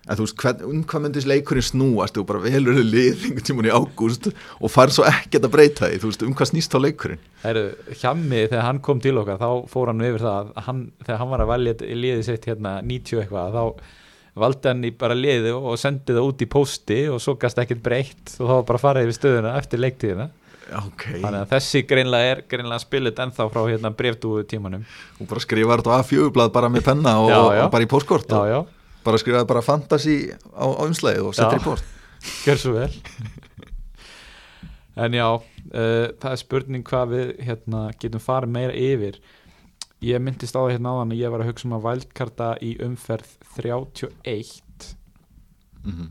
[SPEAKER 2] en þú veist, hvern, um hvað myndist leikurinn snúast þú bara velur þér lið einhvern tímun í ágúst og fær svo ekkert að breyta því þú veist, um hvað snýst þá leikurinn
[SPEAKER 1] Það eru hjammi þegar hann kom til okkar þá fór hann yfir það að hann, þegar hann var að velja í liðið sitt hérna 90 eitthvað þá valdi hann í bara liðið og- og sendi það út í pósti og svo gast ekkert breytt og þá var bara að fara yfir stöðuna eftir leiktíðina
[SPEAKER 2] ok,
[SPEAKER 1] þannig að þessi greinlega er greinlega spilit ennþá frá hérna brefdúðu tímanum
[SPEAKER 2] og bara skrifa þetta á A4-blad bara með penna og,
[SPEAKER 1] Já, já.
[SPEAKER 2] og bara í postkort
[SPEAKER 1] Já,
[SPEAKER 2] og
[SPEAKER 1] já,
[SPEAKER 2] bara skrifaði bara fantasy á, á umslæðið og
[SPEAKER 1] Já.
[SPEAKER 2] setja í post
[SPEAKER 1] gjör svo vel En já, uh, það er spurning hvað við hérna, getum farið meira yfir Ég myndist á það hérna áðan að ég var að hugsa um að vældkarta í umferð 31
[SPEAKER 2] mm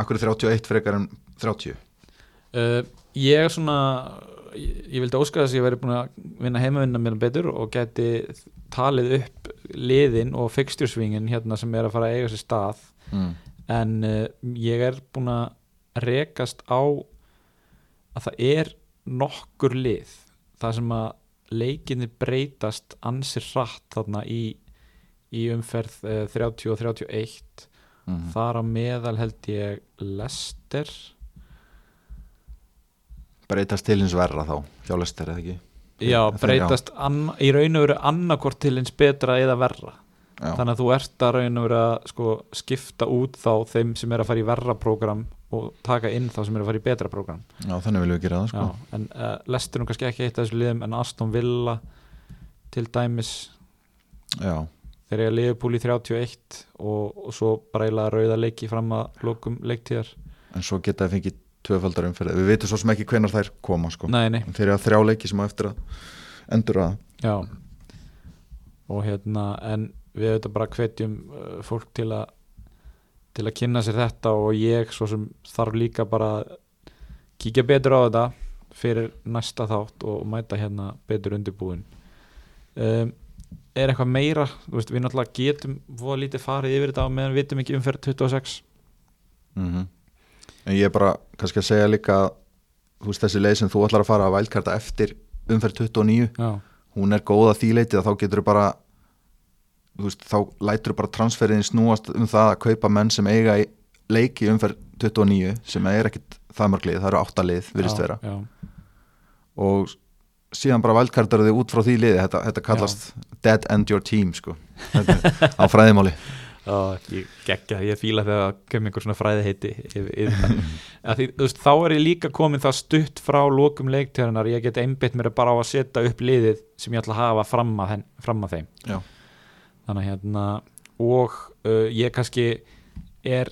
[SPEAKER 2] Akkur er 31 frekar en 30
[SPEAKER 1] Uh, ég er svona ég, ég vildi óska þess að ég væri búin að vinna heimavinna mér betur og geti talið upp liðin og fixturesvingin hérna sem er að fara að eiga sér stað
[SPEAKER 2] mm.
[SPEAKER 1] en uh, ég er búin að rekast á að það er nokkur lið það sem að leikinni breytast ansir hratt þarna í, í umferð uh, 30 og 31
[SPEAKER 2] mm.
[SPEAKER 1] þar á meðal held ég Lester
[SPEAKER 2] Breytast til hins verra þá hjá Lester eða ekki
[SPEAKER 1] Já,
[SPEAKER 2] Það er
[SPEAKER 1] breytast anna, í raun og veru annarkort til eins betra eða verra
[SPEAKER 2] Já.
[SPEAKER 1] þannig að þú ert að raun og veru að sko, skipta út þá þeim sem er að fara í verra program og taka inn þá sem er að fara í betra program
[SPEAKER 2] Já, þannig viljum við gera það sko
[SPEAKER 1] Já, en uh, lestur hún kannski ekki eitt af þessu liðum en Aston Villa til dæmis
[SPEAKER 2] Já.
[SPEAKER 1] þegar ég liðupúli 31 og, og svo bara eiginlega rauða leiki fram að lokum leiktíðar
[SPEAKER 2] En svo geta það fengið tvöfaldar umferð Við veitum svo sem ekki hvenar þær koma sko
[SPEAKER 1] Nei, nei,
[SPEAKER 2] En Þeir eru að þrjá leiki sem á eftir að endur að
[SPEAKER 1] Já og hérna en við auðvitað bara hvetjum uh, fólk til að til að kynna sér þetta og ég svo sem þarf líka bara að kíkja betur á þetta fyrir næsta þátt og mæta hérna betur undirbúin um, er eitthvað meira þú veist, við náttúrulega getum voða lítið farið yfir þetta á meðan við vitum ekki umferð 26
[SPEAKER 2] Mhm. En ég er bara kannski að segja líka að, Þú veist þessi leið sem þú ætlar að fara að vælkarta eftir umferð 29
[SPEAKER 1] Já,
[SPEAKER 2] hún er góð að því leitið að þá getur þú bara þú veist, þá lætur þú bara transferiðin snúast um það að kaupa menn sem eiga í leiki umferð 29 sem er ekkit það mörglið, það eru áttalið virðist vera
[SPEAKER 1] já,
[SPEAKER 2] og síðan bara valdkartar þið út frá því liði þetta, þetta kallast dead end your team sko, Þetta- á fræðimáli
[SPEAKER 1] Já, ég geggja, ég fíla þegar það kemur einhver svona fræði heiti yfir, yfir það. Af því, þú veist, þá er ég líka komin það stutt frá lokum leiktjörnar ég get einbytt mér bara á að setja upp liðið sem ég ætla að hafa fram að, henn, fram að þeim
[SPEAKER 2] Já.
[SPEAKER 1] þannig að hérna og uh, ég kannski er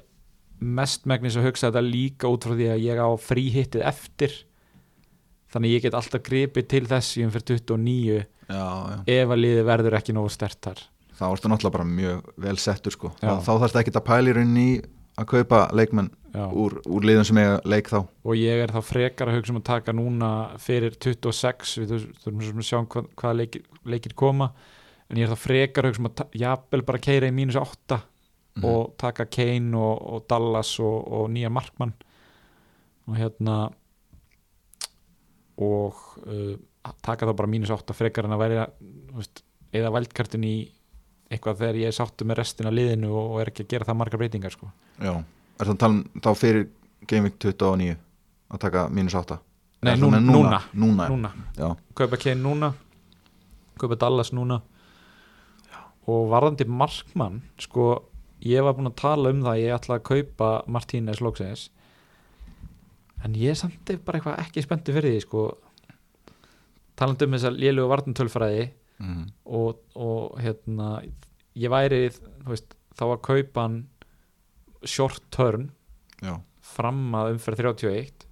[SPEAKER 1] mestmægnis að hugsa þetta líka út frá því að ég á fríhittið eftir þannig að ég get alltaf gripið til þess í um umfyrir 29
[SPEAKER 2] já, já.
[SPEAKER 1] ef að liðið verður ekki nógu stert þar
[SPEAKER 2] þá ertu náttúrulega bara mjög vel settur sko,
[SPEAKER 1] Já.
[SPEAKER 2] þá, þá þarfst ekki að pæli rauninni í að kaupa leikmenn
[SPEAKER 1] Já.
[SPEAKER 2] úr, úr liðum sem eiga leik þá
[SPEAKER 1] og ég er þá frekar að hugsa um að taka núna fyrir 26 við þur- þurfum svo sem að sjá um hvað, hvaða leikir, leikir koma en ég er þá frekar að hugsa um að ta- jafnvel bara keira í mínus 8 og taka Kane og, og Dallas og, og nýja Markmann og hérna og uh, taka þá bara mínus 8 frekar en að vera þú veist, eða vældkartin í eitthvað þegar ég er sáttu með restin af liðinu og, og er ekki að gera það margar breytingar sko.
[SPEAKER 2] Já, er það að tala um þá fyrir Game Week 29 að taka mínus 8
[SPEAKER 1] Nei,
[SPEAKER 2] Er
[SPEAKER 1] nú,
[SPEAKER 2] það með
[SPEAKER 1] núna,
[SPEAKER 2] Núna, núna.
[SPEAKER 1] núna.
[SPEAKER 2] Já.
[SPEAKER 1] kaupa Kane núna kaupa Dallas núna og varðandi markmann sko, ég var búinn að tala um það að ég ætla að kaupa Martínez Lóksæðis en ég er samt bara eitthvað ekki spenntu fyrir því sko talandi um þess að lélugu vartantölfræði
[SPEAKER 2] Mm.
[SPEAKER 1] og, og hérna ég væri þú veist, þá að kaupa hann short turn
[SPEAKER 2] Já.
[SPEAKER 1] fram að umferð 31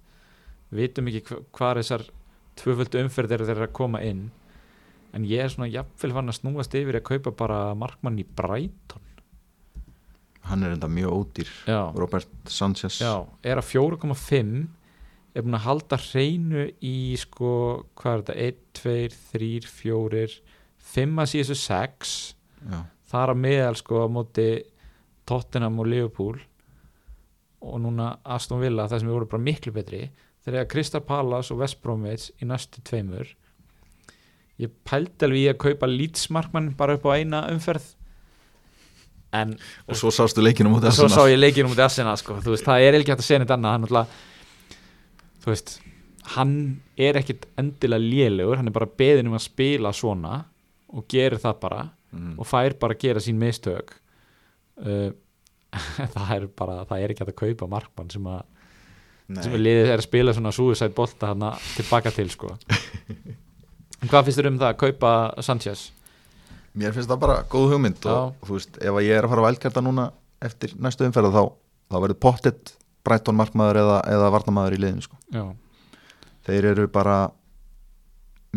[SPEAKER 1] vitum ekki hva- hvar þessar tvöföldu umferð eru þeirra að koma inn en ég er svona jafnvel fann að snúast yfir að kaupa bara markmann í Brighton
[SPEAKER 2] Hann er enda mjög ódýr
[SPEAKER 1] já,
[SPEAKER 2] Robert Sanchez
[SPEAKER 1] já er að 4,5 er búin að halda hreinu í sko, hvað er þetta 1, 2, 3, 4 5 að síðustu 6
[SPEAKER 2] Já.
[SPEAKER 1] þar að meðal sko á móti Tottenham og Liverpool og núna Aston Villa það sem voru bara miklu betri þegar eiga Crystal Palace og West Bromwich í næstu tveimur ég pældi alveg í að kaupa Leeds markmann bara upp á eina umferð en
[SPEAKER 2] Og svo sástu leikinu mútið
[SPEAKER 1] og svo sá ég leikinn um Arsenal sko, þú veist, það er ekki hægt að segja neitt annað hann alltaf, þú veist hann er ekkit endilega lélegur, hann er bara beðin um að spila svona og gerir það bara
[SPEAKER 2] mm.
[SPEAKER 1] og fær bara að gera sín mistök uh, það er bara það er ekki hægt að kaupa markmann sem, að, sem
[SPEAKER 2] Nei.
[SPEAKER 1] að liðið er að spila svona suicide bolta hana tilbaka til sko En hvað finnst þér um það að kaupa Sanchez?
[SPEAKER 2] Mér finnst það bara góð hugmynd og þú veist, ef að ég er að fara að vælkerta núna eftir næstu umferða þá, þá verður pottet Brighton markmaður eða, eða varnamaður í liðinu sko.
[SPEAKER 1] Já,
[SPEAKER 2] Þeir eru bara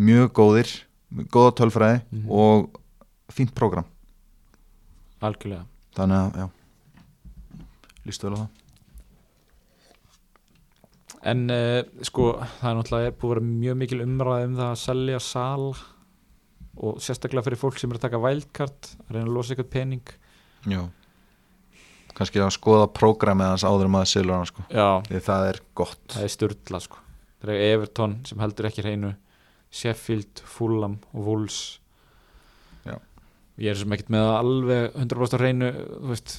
[SPEAKER 2] mjög góðir góða tölfræði
[SPEAKER 1] Mhm.
[SPEAKER 2] og fínt prógram
[SPEAKER 1] algjörlega
[SPEAKER 2] þannig að, já lístu vel á það
[SPEAKER 1] En uh, sko, það er náttúrulega er búið að vera mjög mikil umræði um það að selja sal og sérstaklega fyrir fólk sem er að taka wildcard að reyna að losa eitthvað pening
[SPEAKER 2] Já kannski að skoða prógramið hans áður maður silur hann sko
[SPEAKER 1] Já,
[SPEAKER 2] því það er gott
[SPEAKER 1] það er styrla sko það er Everton sem heldur ekki hreinu Sheffield, Fulham og Wolves
[SPEAKER 2] Já.
[SPEAKER 1] ég er sem ekkert með það alveg 100% á hreinu þú veist,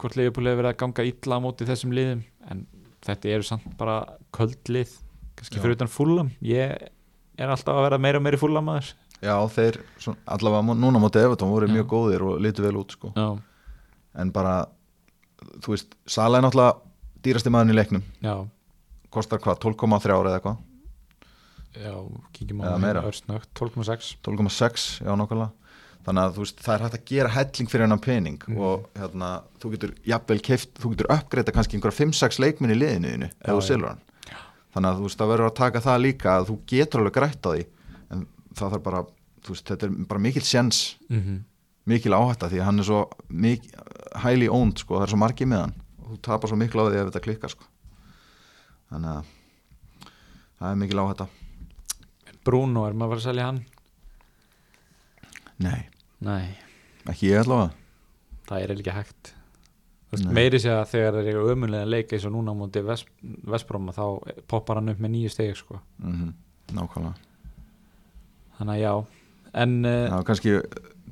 [SPEAKER 1] hvort Leifupúli hefur verið að ganga illa á móti þessum liðum en þetta eru samt bara köld lið kannski
[SPEAKER 2] Já.
[SPEAKER 1] fyrir utan Fulham ég er alltaf að vera meira og meira Fulham aður
[SPEAKER 2] Já þeir, svona, allavega mú- núna móti Evertón voru
[SPEAKER 1] Já.
[SPEAKER 2] mjög góðir og litu vel út sko
[SPEAKER 1] já,
[SPEAKER 2] en bara, þú veist, Sala er náttúrulega dýrasti maðurinn í leiknum
[SPEAKER 1] já,
[SPEAKER 2] kostar hvað, 12,3 ára eða eitthvað
[SPEAKER 1] já kíkjum á
[SPEAKER 2] Eða meira.
[SPEAKER 1] örsnögt, 12.6
[SPEAKER 2] 12,6, já nákvæmlega þannig að þú veist, það er hægt að gera helling fyrir hennan pening
[SPEAKER 1] Mhm.
[SPEAKER 2] og hérna, þú getur jafnvel keift, þú getur uppgreita kannski einhverja 5-6 leikminn í liðinu þínu ef
[SPEAKER 1] Já,
[SPEAKER 2] þú
[SPEAKER 1] já.
[SPEAKER 2] selur hann þannig að þú veist, það verður að taka það líka að þú getur alveg grætt á því en það þarf bara, þú veist, þetta er bara mikil sjens
[SPEAKER 1] mm -hmm.
[SPEAKER 2] mikil áhætta því að hann er svo mik- highly owned, sko, það er svo margi með hann og þú tapar svo mikil á því ef þetta klikkar sko. þannig að það er mikil áhætta
[SPEAKER 1] Bruno, er maður að fara að selja hann?
[SPEAKER 2] Nei,
[SPEAKER 1] nei
[SPEAKER 2] ekki ég allavega
[SPEAKER 1] það er eiginlega ekki hægt Þú veist,
[SPEAKER 2] Nei.
[SPEAKER 1] meiri sé að þegar það er ömulega leika eins og núna á móti Ves- Vestbróma þá poppar hann upp með nýju stegi sko.
[SPEAKER 2] mm Nákvæmlega
[SPEAKER 1] þannig að já en uh,
[SPEAKER 2] Já, kannski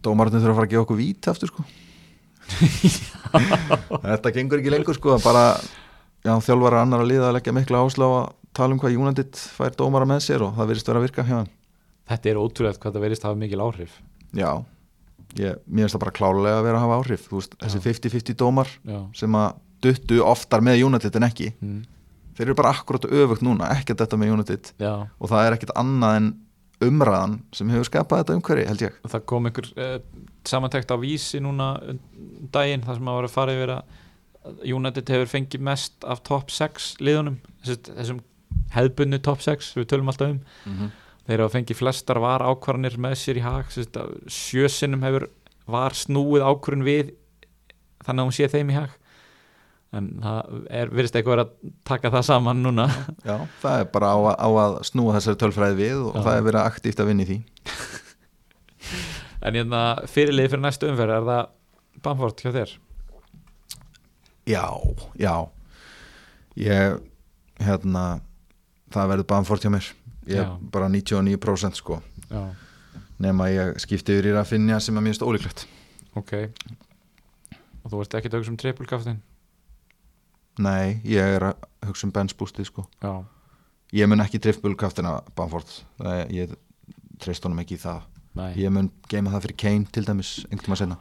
[SPEAKER 2] dómarinn þurfa að fara að gefa okkur víti aftur sko Þetta gengur ekki lengur sko bara, já, þjálfara annar að liða að leggja mikla ásla á að tala um hvað United fær dómara með sér og það virðist vera að virka hjá hann
[SPEAKER 1] þetta er ótrúlegt hvað það verðist að hafa mikil áhrif
[SPEAKER 2] Já, ég, mér finnst það bara klálega að vera að hafa áhrif, þú veist, þessi
[SPEAKER 1] Já.
[SPEAKER 2] 50-50 dómar
[SPEAKER 1] já,
[SPEAKER 2] sem að duttu oftar með United en ekki,
[SPEAKER 1] mm.
[SPEAKER 2] þeir eru bara akkurat öfugt núna, ekki að þetta með United
[SPEAKER 1] já.
[SPEAKER 2] og það er ekkit annað en umræðan sem hefur skapað þetta umhverfi, held ég
[SPEAKER 1] Og það kom einhver uh, samantækt á vísi núna um daginn þar sem að var að fara yfir að United hefur fengið mest af top 6 liðunum þessum, þessum hefðbunni top 6 við tölum alltaf um
[SPEAKER 2] mm -hmm.
[SPEAKER 1] þeir hafa fengið flestar var ákvarðanir með sér í hag sérst, sjösinnum hefur var snúið ákvarðan við þannig að hún sé þeim í hag en það er, virðist eitthvað vera að taka það saman núna
[SPEAKER 2] Já, það er bara á að, á að snúa þessari tölfræði við og
[SPEAKER 1] Já.
[SPEAKER 2] það er verið aktíft að vinna í því
[SPEAKER 1] en ég það fyrirlið fyrir næstu umferð er það Bamford hjá þér
[SPEAKER 2] Já, já Ég, hérna það verður Bamford hjá mér ég er
[SPEAKER 1] Já.
[SPEAKER 2] bara 99% sko
[SPEAKER 1] já,
[SPEAKER 2] nema ég skipti yfir í að finna sem er mjög ólíklegt
[SPEAKER 1] ok og þú ert ekki tökum sem trippulkaftin
[SPEAKER 2] Nei, ég er að hugsa um Benz boostið sko
[SPEAKER 1] já,
[SPEAKER 2] Ég mun ekki driftbúlkaftina Bamford Nei, Ég treyst honum ekki í það
[SPEAKER 1] nei
[SPEAKER 2] Ég mun geima það fyrir Kane til dæmis einhvern tíma senna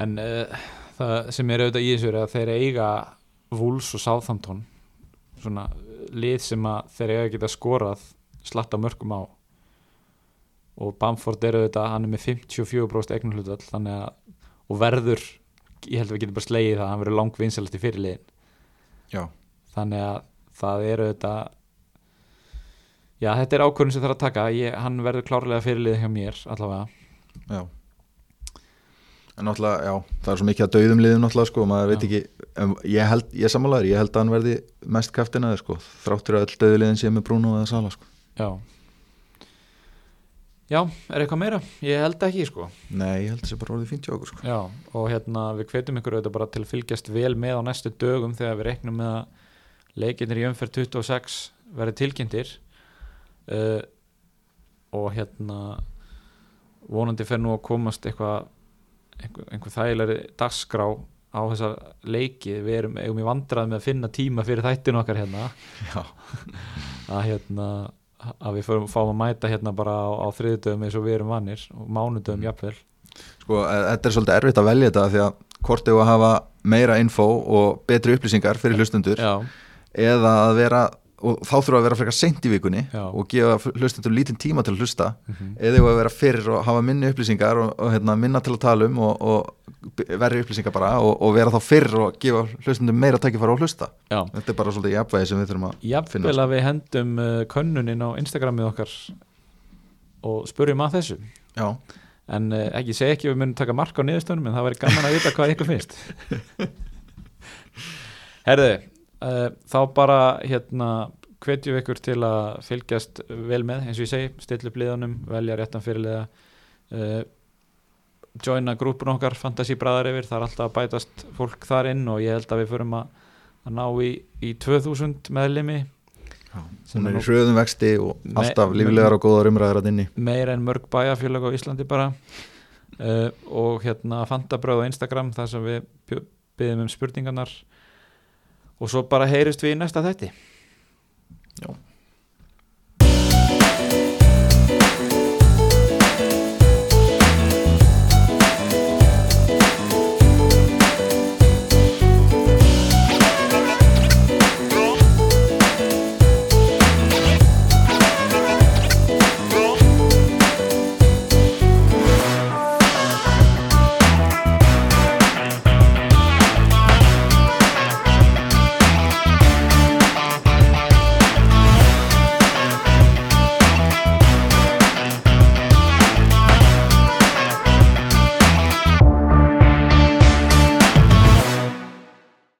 [SPEAKER 1] en uh, það sem er auðvitað í þessu er að þeir eiga Wolves og Southampton svona eh, lið sem að þeir eiga að geta skorað slatta mörgum á og Bamford er auðvitað hann er með 54% eignarhlutvall þannig að og verður ég held að við getum bara slegið það að hann verður langvinsalast í fyrirliðin
[SPEAKER 2] Já,
[SPEAKER 1] þannig að það er auðvitað já þetta er ákvörðin sem þarf að taka ég, hann verður klárlega fyrirlið hjá mér allavega
[SPEAKER 2] já En náttúrulega, já, það er svo mikið að dauðum liðum náttúrulega sko, maður veit
[SPEAKER 1] Já.
[SPEAKER 2] ekki en ég held, ég sammálaður, ég held að hann verði mest kaftina sko, þráttur að öll dauðliðin sé með Bruno eða Sala sko.
[SPEAKER 1] já já er eitthvað meira ég held ekki sko
[SPEAKER 2] Nei, ég held þessi bara orðið fínt hjá okkur sko.
[SPEAKER 1] já, og hérna við hvetjum ykkur auðvitað bara til að fylgjast vel með á næstu dögum þegar við reknum með að leikinir í umferð 26 verði tilkynntir uh, og hérna vonandi fer nú að komast eitthvað einhver, einhver þægilegri dagskrá á þessa leiki við erum eigum í vandrað með að finna tíma fyrir þættin okkar hérna
[SPEAKER 2] Já.
[SPEAKER 1] að hérna að við förum, fáum að mæta hérna bara á, á þriðdöfum eins og við erum vanir og mánudöfum mm. jafnvel
[SPEAKER 2] Sko, e- þetta er svolítið erfitt að velja þetta því að hvort þau að hafa meira info og betri upplýsingar fyrir hlustendur
[SPEAKER 1] Já,
[SPEAKER 2] eða að vera, og þá þurfa að vera frekar seint í vikunni
[SPEAKER 1] Já.
[SPEAKER 2] og gefa fl- hlustendum lítinn tíma til að hlusta
[SPEAKER 1] Mhm.
[SPEAKER 2] eða þau að vera fyrir og hafa minni upplýsingar og, og hérna, minna til að tala um og, og b- verri upplýsingar bara og, og vera þá fyrir og gefa hlustendum meira tækifæra að hlusta
[SPEAKER 1] já
[SPEAKER 2] þetta er bara svolítið jafnvægi sem við þurfum að
[SPEAKER 1] Jafnvel að við hendum uh, könnuninn á Instagramið okkar og spurjum að þessu
[SPEAKER 2] Já,
[SPEAKER 1] en uh, ekki, segi ekki að við munum taka mark á niðurstöðunum en það væri gaman að vita hvað ykkur finnst Herðu uh, þá bara hérna hvetjum við ykkur til að fylgjast vel með, eins og ég segi, stilla upp liðunum velja réttan fyrirliða uh, joina grúpun okkar Fantasí bræðar yfir, það er alltaf að bætast fólk þar inn og ég held að við förum að, að ná í, í 2000 meðlimi Sem er
[SPEAKER 2] hún er í
[SPEAKER 1] nú-
[SPEAKER 2] hröðum vexti og
[SPEAKER 1] Me-
[SPEAKER 2] alltaf líflegar og góðar umræðar að inni
[SPEAKER 1] meira en mörg bæjarfélag á Íslandi bara uh, og hérna fantabröð á Instagram þar sem við byggjum um spurningarnar og svo bara heyrist við í næsta þetti